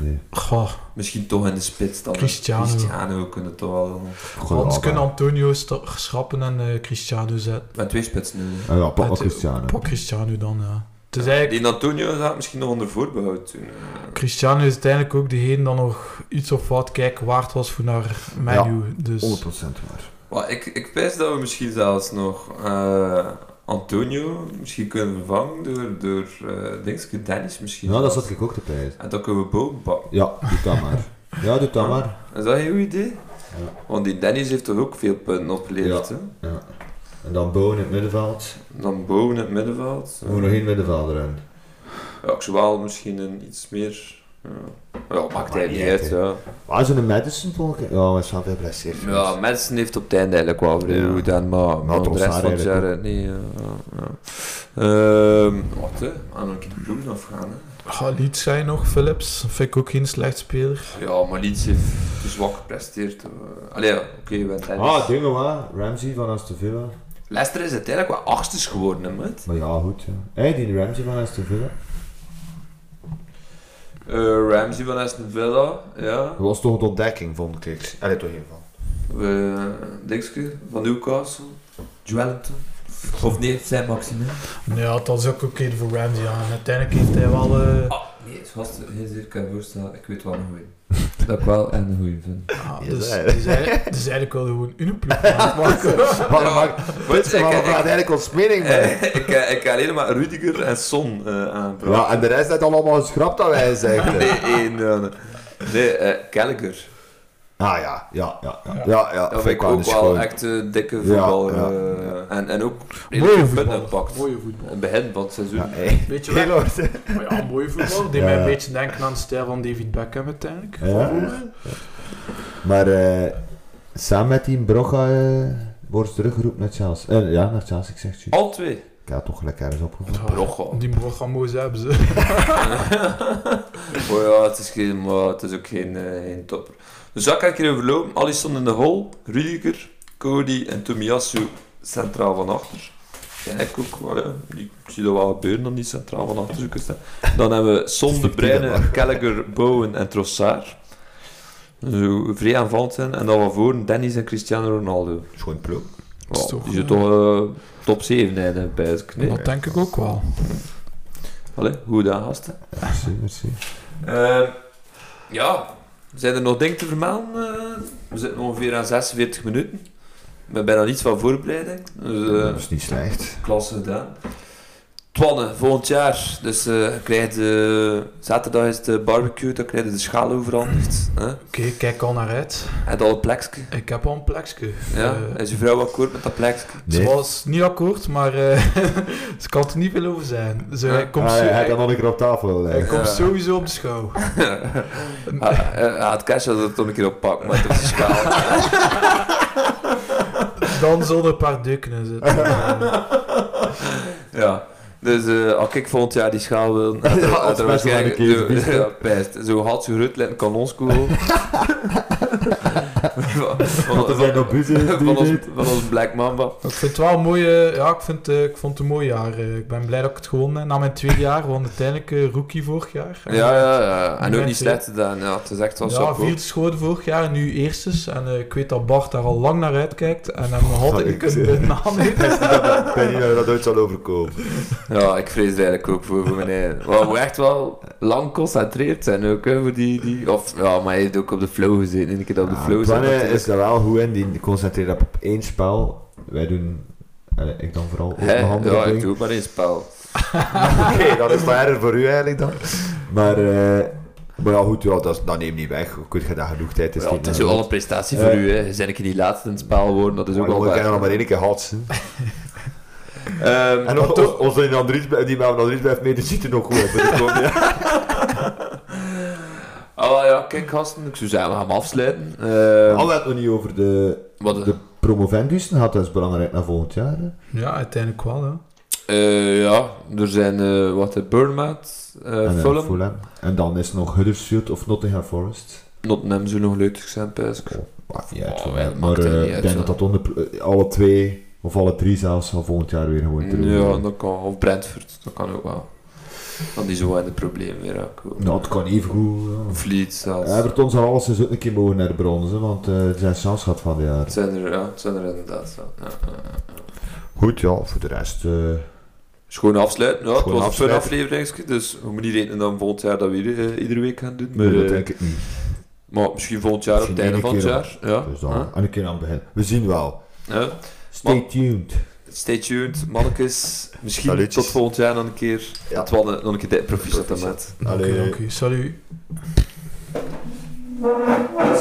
Speaker 2: Nee.
Speaker 3: Goh,
Speaker 1: Misschien toch in de spits dan.
Speaker 3: Cristiano.
Speaker 1: Cristiano kunnen toch wel. eh,
Speaker 2: Goh,
Speaker 3: anders
Speaker 2: ja,
Speaker 3: kunnen
Speaker 2: maar-
Speaker 3: Antonio sta- schrappen en eh, Cristiano zetten.
Speaker 1: Met twee spitsen nu.
Speaker 2: Ah, ja, pak maar
Speaker 3: Het-
Speaker 2: Cristiano.
Speaker 3: Pak Cristiano dan, ja. Het is
Speaker 1: Die
Speaker 3: eigenlijk...
Speaker 1: Antonio gaat misschien nog onder voorbehoud doen. eh.
Speaker 3: Cristiano is uiteindelijk ook degene dan nog iets of wat kijk waard was voor naar menu. dus
Speaker 2: 100% waar.
Speaker 1: Maar ik, ik pijs dat we misschien zelfs nog eh, Antonio misschien kunnen vervangen door, door eh dingetje Dennis misschien.
Speaker 2: Ja, Nou, dat zat ik ook te prijzen.
Speaker 1: En dan kunnen we boven pakken.
Speaker 2: Ja, doe dat maar. Ja, doe dat maar.
Speaker 1: Is dat een goed idee?
Speaker 2: Ja.
Speaker 1: Want die Dennis heeft toch ook veel punten opgeleverd, hè?
Speaker 2: Ja. En dan Bowen in het middenveld.
Speaker 1: Dan boven het middenveld.
Speaker 2: We moeten nog één middenvelder in.
Speaker 1: Ja, ik zou wel misschien een iets meer Ja, maakt
Speaker 2: Maar
Speaker 1: hij
Speaker 2: niet
Speaker 1: niet uit,
Speaker 2: uit,
Speaker 1: ja.
Speaker 2: Maar zo'n medicine volk, ja, was wel veel blessure.
Speaker 1: Ja, Madison heeft op het einde eigenlijk wel vrij
Speaker 2: Ja.
Speaker 1: goed aan, maar, maar de
Speaker 2: Trossard
Speaker 1: rest van het jaar
Speaker 2: eigenlijk
Speaker 1: niet. Ja, ja. Ehm, Wacht, hè. Aan een keer de bloemen afgaan, hè.
Speaker 3: Ga lied zijn nog, Philips. Vind ik ook geen slecht speler.
Speaker 1: Ja, maar Leeds heeft te zwak gepresteerd. eh. Allee, ja, oké, je bent ergens.
Speaker 2: Ah, dingen waar. Ramsey van Aston Villa.
Speaker 1: Leicester is uiteindelijk wel achtste geworden, hè, maat.
Speaker 2: Maar ja, goed. Ja. Hey, die Ramsey van Aston Villa.
Speaker 1: Eh, Ramsey van Aston Villa, ja.
Speaker 4: Dat was toch een ontdekking, vond ik. Allee, toch ieder
Speaker 2: [laughs]
Speaker 4: geval.
Speaker 1: Eh Dikske van Newcastle. Joelinton. Of nee, zijn Maxime.
Speaker 3: Ja, dat is ook oké voor Ramsey. Ja. En uiteindelijk heeft hij wel... eh,
Speaker 1: Ah, nee, gast, geen zeer kan je voorstellen. Ik weet wel een goeie. [laughs] Dat ik wel en een goeie vind.
Speaker 3: ah,
Speaker 4: Ja,
Speaker 3: dus,
Speaker 4: dat-
Speaker 3: dus, eigenlijk, dus eigenlijk wilde gewoon een ploeg maken.
Speaker 4: Waarom
Speaker 1: [laughs]
Speaker 4: maakt
Speaker 1: Weet je,
Speaker 4: waarom
Speaker 1: ik-
Speaker 4: praat eigenlijk ons mening bij?
Speaker 1: Eh, ik, eh, ik ga alleen maar Rudiger en Son eh aanpraten.
Speaker 4: Ja, en de rest heeft allemaal geschrapt dat wij zeggen.
Speaker 1: [laughs] Nee, één. eh, nee, eh Gallagher.
Speaker 4: Ah ja, ja, ja. Ja,
Speaker 3: Ja.
Speaker 4: ja, ja
Speaker 1: Dat vind ik ook wel echt eh, dikke voetballer.
Speaker 4: ja,
Speaker 1: eh, En, en ook
Speaker 3: Mooie
Speaker 1: redelijk punten
Speaker 3: voetbal.
Speaker 1: pakt.
Speaker 3: Mooie voetbal.
Speaker 1: Een begin van het seizoen.
Speaker 3: Weet je
Speaker 4: Heel
Speaker 3: wel?
Speaker 4: hard.
Speaker 3: Maar [laughs] ja, mooie voetbal. Die
Speaker 2: Ja.
Speaker 3: mij een beetje denken aan de stijl van David Beckham uiteindelijk.
Speaker 2: Ja. Maar eh, samen met die Broga eh, wordt ze teruggeroepen naar Chelsea. Eh, ja, naar Chelsea, ik zeg het. juist.
Speaker 1: Al twee.
Speaker 2: Ik had het toch gelijk ergens opgevoerd.
Speaker 1: Brogga.
Speaker 3: Die programma's hebben ze.
Speaker 1: [laughs] Oh ja, het is, geen, maar het is ook geen, eh, geen topper. Dus dat kan ik erover lopen. Alisson in de hol, Rudiger, Cody en Tomiyasu centraal van achter. Ja, ik ook wel, ja. Ik zie dat wel gebeuren om die centraal van achter zoeken staan. Dan hebben we Son, De Bruyne, Gallagher, Bowen en Trossard. Zo vrij aanvallend zijn. En dan van voren Dennis en Cristiano Ronaldo.
Speaker 4: Schoon ploeg.
Speaker 1: Wow,
Speaker 3: toch,
Speaker 1: die zijn
Speaker 3: eh,
Speaker 1: toch eh, top 7 eindigen bij het knee.
Speaker 3: Dat denk ik ook wel.
Speaker 1: Allee, goed aan, gasten.
Speaker 2: Merci, merci.
Speaker 1: Ehm, ja, zijn er nog dingen te vermelden? Eh, we zitten ongeveer aan 46 minuten. Ik ben bijna niets van voorbereiding. Dus eh,
Speaker 2: Dat is niet slecht.
Speaker 1: klasse gedaan. Twanne, volgend jaar. Dus eh, je krijgt, eh, zaterdag is de barbecue, dan krijg je de schaal overhandigd. hè.
Speaker 3: Oké, kijk al naar uit.
Speaker 1: En al een plekje.
Speaker 3: Ik heb al een plekje.
Speaker 1: Ja?
Speaker 3: Eh,
Speaker 1: Is je vrouw akkoord met dat plekje?
Speaker 2: Nee.
Speaker 3: Ze was niet akkoord, maar eh, [laughs] ze kan er niet veel over zijn. Ze
Speaker 1: Ja.
Speaker 3: komt
Speaker 2: ah,
Speaker 3: zo-
Speaker 2: hij had
Speaker 3: hij-
Speaker 2: dat nog een keer op tafel eh. willen
Speaker 3: hij
Speaker 2: leggen.
Speaker 3: komt
Speaker 1: Ja.
Speaker 3: sowieso op de schouw.
Speaker 1: Ah, eh, ah, Het cash had het toch een keer oppakt, maar het is de schaal.
Speaker 3: Dan zullen er een paar deuken in zitten. Eh,
Speaker 1: Ja. Dus eh, als ik volgend jaar die schaal wil,
Speaker 2: [laughs]
Speaker 1: had er-
Speaker 2: Ja,
Speaker 1: had
Speaker 2: als
Speaker 1: er
Speaker 2: best wel
Speaker 1: waarschijnlijk-
Speaker 2: een keer
Speaker 1: zo-
Speaker 2: verdiend.
Speaker 1: [laughs] ja, pijst. Zo had ze gerut een kanonskool.
Speaker 2: [laughs]
Speaker 1: van, van,
Speaker 2: Want er zijn nog
Speaker 1: [laughs]
Speaker 2: bussen
Speaker 1: van
Speaker 2: die
Speaker 1: ons,
Speaker 2: dit.
Speaker 1: van ons Black Mamba.
Speaker 3: ik vind het wel een mooie, ja, ik, vind, eh, ik vond het een mooi jaar. eh. ik ben blij dat ik het gewonnen heb. Na mijn tweede jaar, want uiteindelijk eh, rookie vorig jaar. En,
Speaker 1: Ja, ja, ja. En ook
Speaker 3: Mensen.
Speaker 1: niet slecht gedaan. Ja, het is echt wel
Speaker 3: Ja,
Speaker 1: zo
Speaker 3: vierde schoot vorig jaar en nu eerstes. En eh, ik weet dat Bart daar al lang naar uitkijkt. En hem nog altijd niet
Speaker 2: ik
Speaker 3: kunnen
Speaker 2: zie-
Speaker 3: benaderen.
Speaker 4: Ik weet niet dat dat ooit zal overkomen.
Speaker 1: Ja, ik vrees er eigenlijk ook voor, voor mijn eigen. We moeten echt wel lang geconcentreerd zijn ook, hè, voor die, die... Of, ja, maar hij heeft ook op de flow gezeten. Een keer op de
Speaker 2: Ja,
Speaker 1: flow
Speaker 2: Twanne
Speaker 1: zat,
Speaker 2: is daar wel goed in, die concentreert op op één spel. Wij doen, eh, ik dan vooral ook
Speaker 1: Hè?
Speaker 2: nog andere
Speaker 1: Ja, ik
Speaker 2: dingen.
Speaker 1: doe ook maar één spel. [laughs]
Speaker 4: Oké, dat is toch erger voor u eigenlijk dan?
Speaker 2: Maar eh,
Speaker 4: Maar ja, goed, ja, dat, is- dat neemt niet weg. Hoe kun je daar genoeg tijd?
Speaker 1: Ja, het is ook
Speaker 4: ook
Speaker 1: al een prestatie voor
Speaker 2: Eh.
Speaker 1: u, hè. Zijn ik niet laatste in het spel worden, dat is ook al
Speaker 4: We kennen nog
Speaker 1: waar.
Speaker 4: maar één keer gehad.
Speaker 1: Ehm,
Speaker 4: En
Speaker 1: maar
Speaker 4: on-
Speaker 1: toch-
Speaker 4: on- onze in Andries, die bij Andries blijft mee, die ziet er nog goed uit. Dus gewoon,
Speaker 1: [laughs]
Speaker 4: ja.
Speaker 1: Ah ja, kijk gasten, ik zou zeggen, we gaan hem afsluiten. Ehm,
Speaker 2: al het nog niet over de,
Speaker 1: wat,
Speaker 2: de promovendussen had, dat is belangrijk naar volgend jaar. hè.
Speaker 3: [laughs] Ja, uiteindelijk wel. Hè.
Speaker 1: eh, ja, er zijn eh, wat de Burnmouth,
Speaker 2: en, eh,
Speaker 1: eh Fulham.
Speaker 2: En dan is nog Huddersfield of Nottingham Forest.
Speaker 1: Nottingham zou nog leuk zijn, Pesk.
Speaker 2: Maakt niet uit,
Speaker 1: Oh,
Speaker 2: voor
Speaker 1: wel,
Speaker 2: mij. maar
Speaker 1: maakt het
Speaker 2: eh,
Speaker 1: niet
Speaker 2: ik
Speaker 1: uit,
Speaker 2: denk
Speaker 1: zo.
Speaker 2: dat dat onder, eh, alle twee, of alle drie zelfs, van volgend jaar weer gewoon terug.
Speaker 1: Ja, dat kan. Of Brentford, dat kan ook wel. Want die zo in de problemen weer aankomen.
Speaker 2: Nou, het kan even goed. ja.
Speaker 1: Fleet zelfs.
Speaker 2: Everton zal alles eens ook een keer mogen naar de bronzen, want eh, er zijn chance gehad van dit jaar.
Speaker 1: Het zijn er, ja, het zijn er inderdaad. Ja, ja, ja.
Speaker 4: Goed, ja, voor de rest.
Speaker 2: Dus, eh,
Speaker 1: Schoon afsluiten, ja.
Speaker 4: Schoon
Speaker 1: het was een fun
Speaker 4: afsluiten.
Speaker 1: aflevering, dus we moeten niet rekenen dat we volgend jaar dat we ieder- eh, iedere week gaan doen. Maar,
Speaker 2: nee, dat
Speaker 1: eh,
Speaker 2: denk ik niet.
Speaker 1: Maar misschien volgend jaar, op het
Speaker 2: Misschien
Speaker 1: einde van
Speaker 2: ene
Speaker 1: het jaar. Ja.
Speaker 2: Dus dan,
Speaker 1: Huh?
Speaker 2: en een keer aan het begin. We zien wel.
Speaker 1: Ja.
Speaker 2: Stay
Speaker 1: Maar-
Speaker 2: tuned.
Speaker 1: Stay tuned, mannetjes. Misschien
Speaker 4: Salutjes.
Speaker 1: tot volgend jaar nog een keer.
Speaker 4: Ja.
Speaker 1: Het wel nog een keer de proficiat aan met.
Speaker 3: Dank u,
Speaker 4: Allee.
Speaker 3: dank u. Salut.